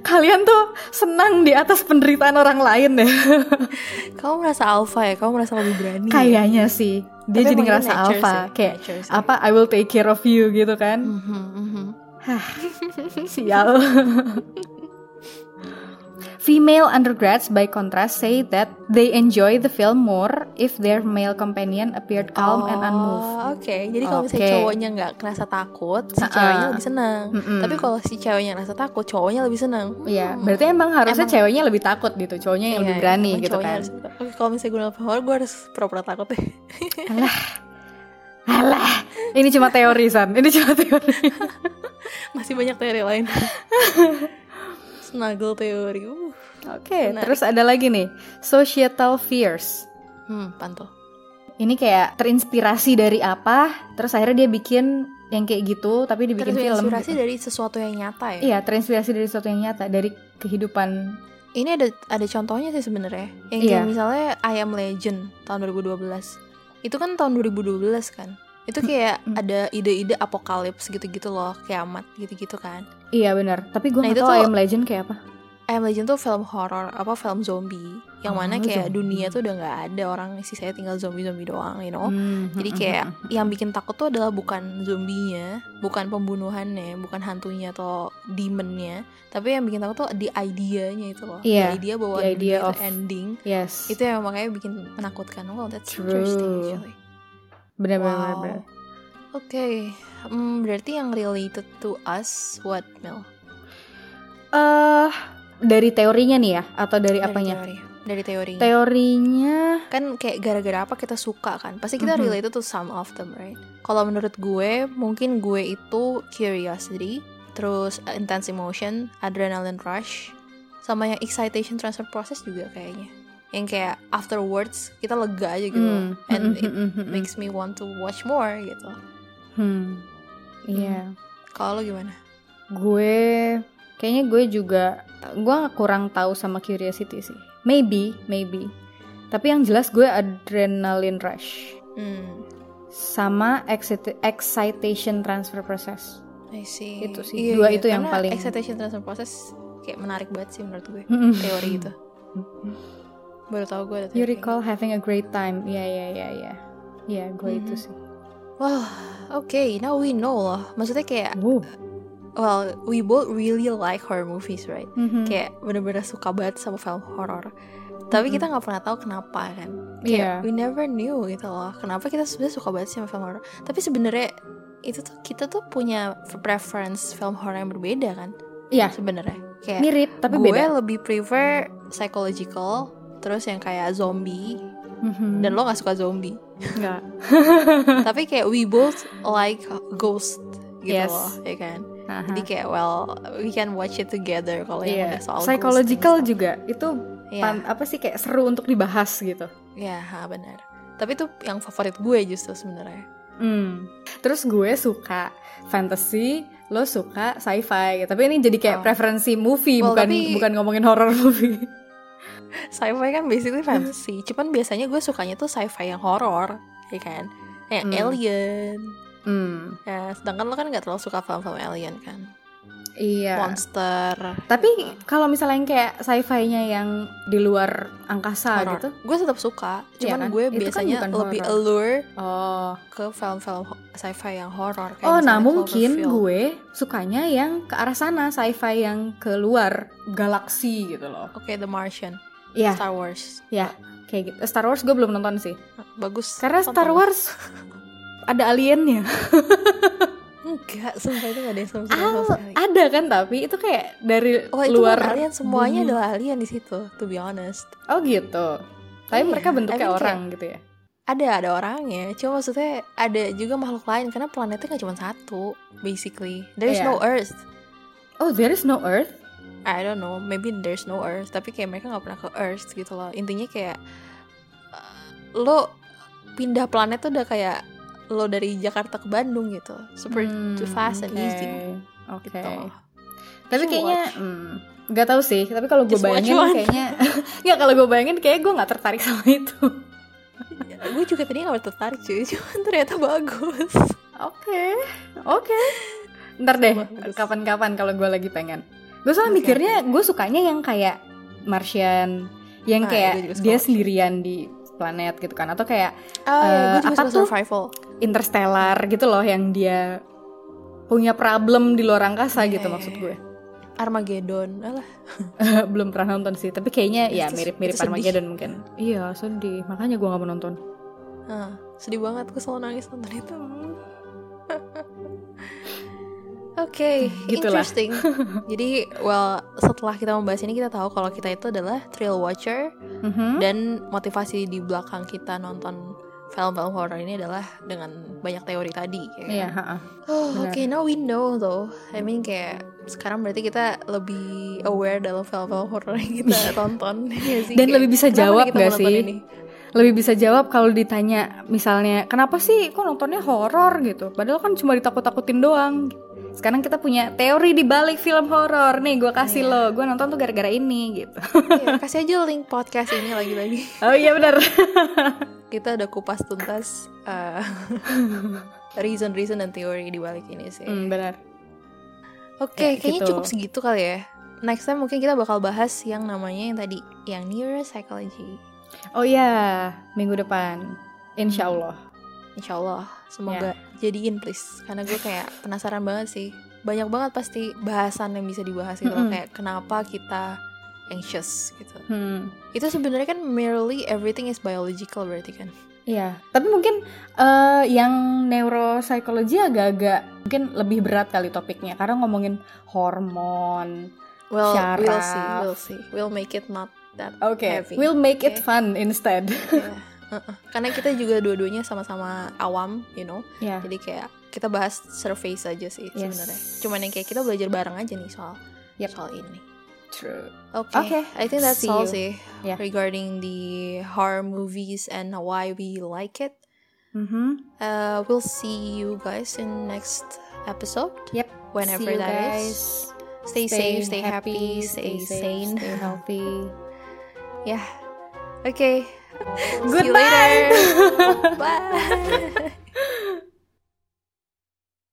Speaker 2: kalian tuh senang di atas penderitaan orang lain ya. deh
Speaker 1: Kamu merasa alpha ya? Kamu merasa lebih berani. ya?
Speaker 2: kayaknya sih dia
Speaker 1: Tapi
Speaker 2: jadi
Speaker 1: emang ini
Speaker 2: ngerasa
Speaker 1: nature
Speaker 2: alpha
Speaker 1: sih,
Speaker 2: kayak
Speaker 1: nature sih.
Speaker 2: apa I will take care of you gitu kan
Speaker 1: Mhm, mhm.
Speaker 2: Sial. Female undergrads, by contrast, say that they enjoy the film more if their male companion appeared calm and
Speaker 1: Oh,
Speaker 2: unmoved.
Speaker 1: Oke, jadi kalau misalnya
Speaker 2: Oke.
Speaker 1: cowoknya nggak ngerasa takut, si
Speaker 2: Ha-ha.
Speaker 1: ceweknya lebih senang.
Speaker 2: Mm-mm.
Speaker 1: Tapi kalau si ceweknya ngerasa takut, cowoknya lebih senang.
Speaker 2: Hmm. Iya,
Speaker 1: Hmm.
Speaker 2: berarti emang harusnya
Speaker 1: Emang-
Speaker 2: ceweknya lebih takut gitu, cowoknya yang
Speaker 1: Iya,
Speaker 2: lebih berani
Speaker 1: emang
Speaker 2: gitu
Speaker 1: cowoknya
Speaker 2: kan.
Speaker 1: harus- Oke, kalau misalnya gue nonton horor, gue harus pura-pura takut deh.
Speaker 2: Alah, ini cuma teori San, ini cuma teori.
Speaker 1: Masih banyak teori lain. Snuggle teori. Uh.
Speaker 2: Oke,
Speaker 1: Menarik.
Speaker 2: terus ada lagi nih, societal fears.
Speaker 1: Hmm, pantul.
Speaker 2: Ini kayak terinspirasi dari apa? Terus akhirnya dia bikin yang kayak gitu, tapi dibikin film.
Speaker 1: Terinspirasi
Speaker 2: gitu.
Speaker 1: dari sesuatu yang nyata ya.
Speaker 2: Iya, terinspirasi dari sesuatu yang nyata, dari kehidupan
Speaker 1: Ini ada ada contohnya sih sebenarnya. Yang
Speaker 2: Iya.
Speaker 1: kayak misalnya I Am Legend tahun 2012. Itu kan tahun 2012 kan. Itu
Speaker 2: Hmm.
Speaker 1: kayak
Speaker 2: Mm-mm.
Speaker 1: ada ide-ide apokalips gitu-gitu loh, kiamat gitu-gitu kan.
Speaker 2: Iya benar, tapi gue
Speaker 1: Nah,
Speaker 2: nggak
Speaker 1: itu
Speaker 2: tahu
Speaker 1: tuh-
Speaker 2: I Am Legend kayak apa.
Speaker 1: I Am Legend tuh film horor, apa film zombie, yang
Speaker 2: Oh,
Speaker 1: mana kayak
Speaker 2: zombie.
Speaker 1: dunia tuh udah nggak ada orang, sisanya tinggal zombie-zombie doang, you know.
Speaker 2: Hmm,
Speaker 1: Oh, Jadi
Speaker 2: hmm,
Speaker 1: kayak
Speaker 2: hmm, hmm.
Speaker 1: yang bikin takut tuh adalah bukan zombinya, bukan pembunuhannya, bukan hantunya atau demonnya, tapi yang bikin takut tuh di ideanya itu loh.
Speaker 2: Iya,
Speaker 1: The idea bahwa
Speaker 2: the idea
Speaker 1: dunia itu
Speaker 2: of-
Speaker 1: ending
Speaker 2: yes,
Speaker 1: itu yang makanya bikin menakutkan. Well, that's
Speaker 2: True.
Speaker 1: interesting actually.
Speaker 2: benar-benar.
Speaker 1: Wow.
Speaker 2: benar.
Speaker 1: Oke, hmm, berarti yang related to us what Mel?
Speaker 2: Eh, dari teorinya nih ya, atau dari,
Speaker 1: Dari
Speaker 2: apanya?
Speaker 1: teori. Dari teorinya.
Speaker 2: Teorinya,
Speaker 1: kan kayak gara-gara apa kita suka kan pasti kita
Speaker 2: Mhm.
Speaker 1: related to some of them right kalau menurut gue mungkin gue itu curiosity terus uh, intense emotion adrenaline rush sama yang excitation transfer process juga kayaknya yang kayak afterwards kita lega aja gitu
Speaker 2: hmm,
Speaker 1: and
Speaker 2: hmm,
Speaker 1: it
Speaker 2: hmm, hmm,
Speaker 1: makes me want to watch more gitu Mm.
Speaker 2: hmm. Iya,
Speaker 1: Hmm. kalau lo gimana
Speaker 2: gue kayaknya gue juga gue kurang tahu sama curiosity sih. Maybe, maybe. Tapi yang jelas gue adrenaline rush
Speaker 1: hmm
Speaker 2: sama excit- excitation transfer process.
Speaker 1: I see Iya,
Speaker 2: Itu sih, dua itu yang
Speaker 1: Karena
Speaker 2: paling-
Speaker 1: excitation transfer process kayak menarik banget sih menurut gue
Speaker 2: Hmm.
Speaker 1: teori itu baru tau gue ada teori
Speaker 2: You
Speaker 1: kayak gitu.
Speaker 2: recall having a great time. Iya, iya, iya, iya. Iya, gue itu
Speaker 1: Mhm.
Speaker 2: sih.
Speaker 1: Wah, oke, now we know loh. Maksudnya kayak,
Speaker 2: Wow.
Speaker 1: well, we both really like horror movies, right?
Speaker 2: Mhm.
Speaker 1: Kayak bener-bener suka banget sama film horor. Tapi kita nggak pernah tahu kenapa kan.
Speaker 2: Hmm. Iya.
Speaker 1: Kayak we never knew gitu loh. Kenapa kita sebenarnya suka banget sama film horor? Tapi sebenarnya itu tuh kita tuh punya preference film horor yang berbeda kan?
Speaker 2: Iya.
Speaker 1: Sebenarnya. Kayak
Speaker 2: Mirip tapi
Speaker 1: gue
Speaker 2: beda.
Speaker 1: lebih prefer psychological, terus yang kayak zombie.
Speaker 2: Mhm.
Speaker 1: Dan lo nggak suka zombie.
Speaker 2: Nggak.
Speaker 1: tapi kayak we both like ghost gitu
Speaker 2: Yes.
Speaker 1: loh ya kan
Speaker 2: Aha.
Speaker 1: jadi kayak well we can watch it together kalau
Speaker 2: Iya.
Speaker 1: yang udah soal
Speaker 2: Psychological
Speaker 1: ghosting stuff.
Speaker 2: juga itu
Speaker 1: Iya,
Speaker 2: pan- apa sih kayak seru untuk dibahas gitu.
Speaker 1: iya ha, benar tapi itu yang favorit gue justru sebenarnya
Speaker 2: Hmm. Terus gue suka fantasy, lo suka sci-fi. gitu. Tapi ini jadi kayak
Speaker 1: Oh.
Speaker 2: preferensi movie
Speaker 1: Well,
Speaker 2: bukan
Speaker 1: tapi-
Speaker 2: bukan ngomongin horror movie.
Speaker 1: sci-fi kan basically
Speaker 2: Hmm.
Speaker 1: fantasy cuman biasanya gue sukanya tuh sci-fi yang horor ya kan yang
Speaker 2: Hmm.
Speaker 1: alien
Speaker 2: Hmm.
Speaker 1: ya sedangkan lo kan nggak terlalu suka film-film alien kan
Speaker 2: Iya.
Speaker 1: monster
Speaker 2: Tapi kalau misalnya yang kayak sci-fi-nya yang di luar angkasa
Speaker 1: horor.
Speaker 2: gitu.
Speaker 1: gue tetap suka
Speaker 2: Iya
Speaker 1: cuman
Speaker 2: kan?
Speaker 1: gue
Speaker 2: Itu kan
Speaker 1: biasanya
Speaker 2: bukan
Speaker 1: lebih
Speaker 2: horor.
Speaker 1: allure
Speaker 2: Oh.
Speaker 1: ke film-film ho- sci-fi yang horor kayak
Speaker 2: Oh, nah
Speaker 1: misalnya
Speaker 2: mungkin
Speaker 1: Cloverfield.
Speaker 2: gue sukanya yang ke arah sana, sci-fi yang keluar galaksi gitu loh.
Speaker 1: Oke, The Martian,
Speaker 2: Iya,
Speaker 1: Star Wars.
Speaker 2: ya kayak gitu. Star Wars gue belum nonton sih,
Speaker 1: Bagus.
Speaker 2: karena
Speaker 1: Tonton
Speaker 2: Star
Speaker 1: lah.
Speaker 2: Wars ada aliennya.
Speaker 1: Enggak, sumpah itu gak ada yang sama sama
Speaker 2: Ah,
Speaker 1: sekali.
Speaker 2: ada kan tapi itu kayak dari
Speaker 1: Oh itu
Speaker 2: luar
Speaker 1: kan alien semuanya
Speaker 2: bumi.
Speaker 1: adalah alien di situ, to be honest.
Speaker 2: Oh gitu.
Speaker 1: Iya,
Speaker 2: Tapi mereka
Speaker 1: I
Speaker 2: bentuknya
Speaker 1: mean
Speaker 2: orang gitu ya.
Speaker 1: Ada ada orangnya, cuma maksudnya ada juga makhluk lain karena planetnya nggak cuma satu, basically. There is
Speaker 2: Iya.
Speaker 1: no Earth.
Speaker 2: Oh, there is no earth.
Speaker 1: I don't know, maybe there's no Earth, tapi kayak mereka nggak pernah ke Earth gitu loh. Intinya kayak uh, lo pindah planet tuh udah kayak lo dari Jakarta ke Bandung gitu, super too fast and
Speaker 2: Hmm, oke.
Speaker 1: easy.
Speaker 2: Oke.
Speaker 1: Gitu.
Speaker 2: Tapi
Speaker 1: Just
Speaker 2: kayaknya
Speaker 1: watch.
Speaker 2: hmm, nggak tahu sih. Tapi kalau gue
Speaker 1: Just watch
Speaker 2: bayangin
Speaker 1: one.
Speaker 2: kayaknya nggak kalau gue bayangin kayak gue nggak tertarik sama itu.
Speaker 1: Gue juga tadi nggak tertarik cuy, cuman ternyata bagus.
Speaker 2: Oke. Oke. Ntar deh
Speaker 1: Bagus.
Speaker 2: kapan-kapan kalau gue lagi pengen. Gue soalnya
Speaker 1: Oke,
Speaker 2: mikirnya gue sukanya yang kayak Martian,
Speaker 1: Ah, gue
Speaker 2: yang
Speaker 1: juga
Speaker 2: kayak
Speaker 1: suka
Speaker 2: dia
Speaker 1: Martian.
Speaker 2: sendirian di planet gitu kan atau kayak
Speaker 1: Ah, iya,
Speaker 2: Eh,
Speaker 1: gue juga
Speaker 2: apa
Speaker 1: suka
Speaker 2: tuh?
Speaker 1: survival.
Speaker 2: interstellar gitu loh yang dia punya problem di luar angkasa
Speaker 1: Iya,
Speaker 2: gitu
Speaker 1: iya,
Speaker 2: maksud
Speaker 1: iya.
Speaker 2: gue
Speaker 1: Armageddon, alah.
Speaker 2: belum pernah nonton sih tapi kayaknya ya
Speaker 1: Iya, Itu-
Speaker 2: mirip-mirip
Speaker 1: itu sedih.
Speaker 2: Armageddon mungkin iya sedih makanya gue gak mau nonton
Speaker 1: Ah, sedih banget gue selalu nangis nonton itu. Oke,
Speaker 2: Gitulah.
Speaker 1: interesting. Jadi, well, setelah kita membahas ini kita tahu kalau kita itu adalah thrill watcher
Speaker 2: Mhm.
Speaker 1: dan motivasi di belakang kita nonton film-film horor ini adalah dengan banyak teori tadi. ya kan?
Speaker 2: iya ha-ha.
Speaker 1: Oh,
Speaker 2: Benar.
Speaker 1: oke, now we know though. I mean kayak sekarang berarti kita lebih aware dalam film-film horor yang kita tonton. ya sih?
Speaker 2: Dan
Speaker 1: Kayak,
Speaker 2: lebih bisa
Speaker 1: kenapa nih
Speaker 2: jawab
Speaker 1: kita
Speaker 2: nggak
Speaker 1: menonton
Speaker 2: sih?
Speaker 1: ini?
Speaker 2: lebih bisa jawab kalau ditanya misalnya kenapa sih kok nontonnya horor gitu padahal kan cuma ditakut-takutin doang sekarang kita punya teori di balik film horor nih gue kasih
Speaker 1: Iya.
Speaker 2: lo gue nonton tuh gara-gara ini gitu
Speaker 1: Iya, kasih aja link podcast ini lagi-lagi.
Speaker 2: oh iya benar
Speaker 1: Kita udah kupas tuntas eh, reason-reason dan teori di balik ini sih.
Speaker 2: hmm, benar
Speaker 1: Oke,
Speaker 2: Ya,
Speaker 1: kayaknya
Speaker 2: gitu.
Speaker 1: cukup segitu kali ya. Next time mungkin kita bakal bahas yang namanya yang tadi, yang neuropsychology.
Speaker 2: oh iya minggu depan Insya Allah
Speaker 1: Insya Allah,
Speaker 2: Ya.
Speaker 1: semoga jadiin please. Karena gue kayak penasaran banget sih. Banyak banget pasti bahasan yang bisa dibahas gitu loh.
Speaker 2: Mm-mm.
Speaker 1: Kayak kenapa kita anxious gitu.
Speaker 2: hmm.
Speaker 1: Itu sebenarnya kan merely everything is biological berarti kan.
Speaker 2: Iya, tapi mungkin eh, yang neuropsikologi agak-agak mungkin lebih berat kali topiknya karena ngomongin hormon.
Speaker 1: Well, we'll
Speaker 2: Syaraf.
Speaker 1: see, we'll see. We'll make it not that
Speaker 2: Oke,
Speaker 1: heavy.
Speaker 2: we'll make it
Speaker 1: Oke.
Speaker 2: fun instead.
Speaker 1: Yeah. Uh-uh. Karena kita juga dua-duanya sama-sama awam, you know.
Speaker 2: Iya.
Speaker 1: Jadi kayak kita bahas surface aja sih
Speaker 2: Yes.
Speaker 1: sebenarnya. Cuman yang kayak kita belajar bareng aja nih soal
Speaker 2: Yep.
Speaker 1: soal ini.
Speaker 2: True.
Speaker 1: Oke,
Speaker 2: Okay,
Speaker 1: I think that's
Speaker 2: see
Speaker 1: all
Speaker 2: you.
Speaker 1: sih
Speaker 2: Yeah.
Speaker 1: regarding the horror movies and why we like it.
Speaker 2: Mhm.
Speaker 1: Uh, we'll see you guys in next episode.
Speaker 2: Yep.
Speaker 1: Whenever
Speaker 2: See you
Speaker 1: that
Speaker 2: guys.
Speaker 1: is. Stay, safe, stay happy, stay,
Speaker 2: safe,
Speaker 1: sane.
Speaker 2: stay healthy.
Speaker 1: Yeah. Okay. See you
Speaker 2: Goodbye.
Speaker 1: later. Bye.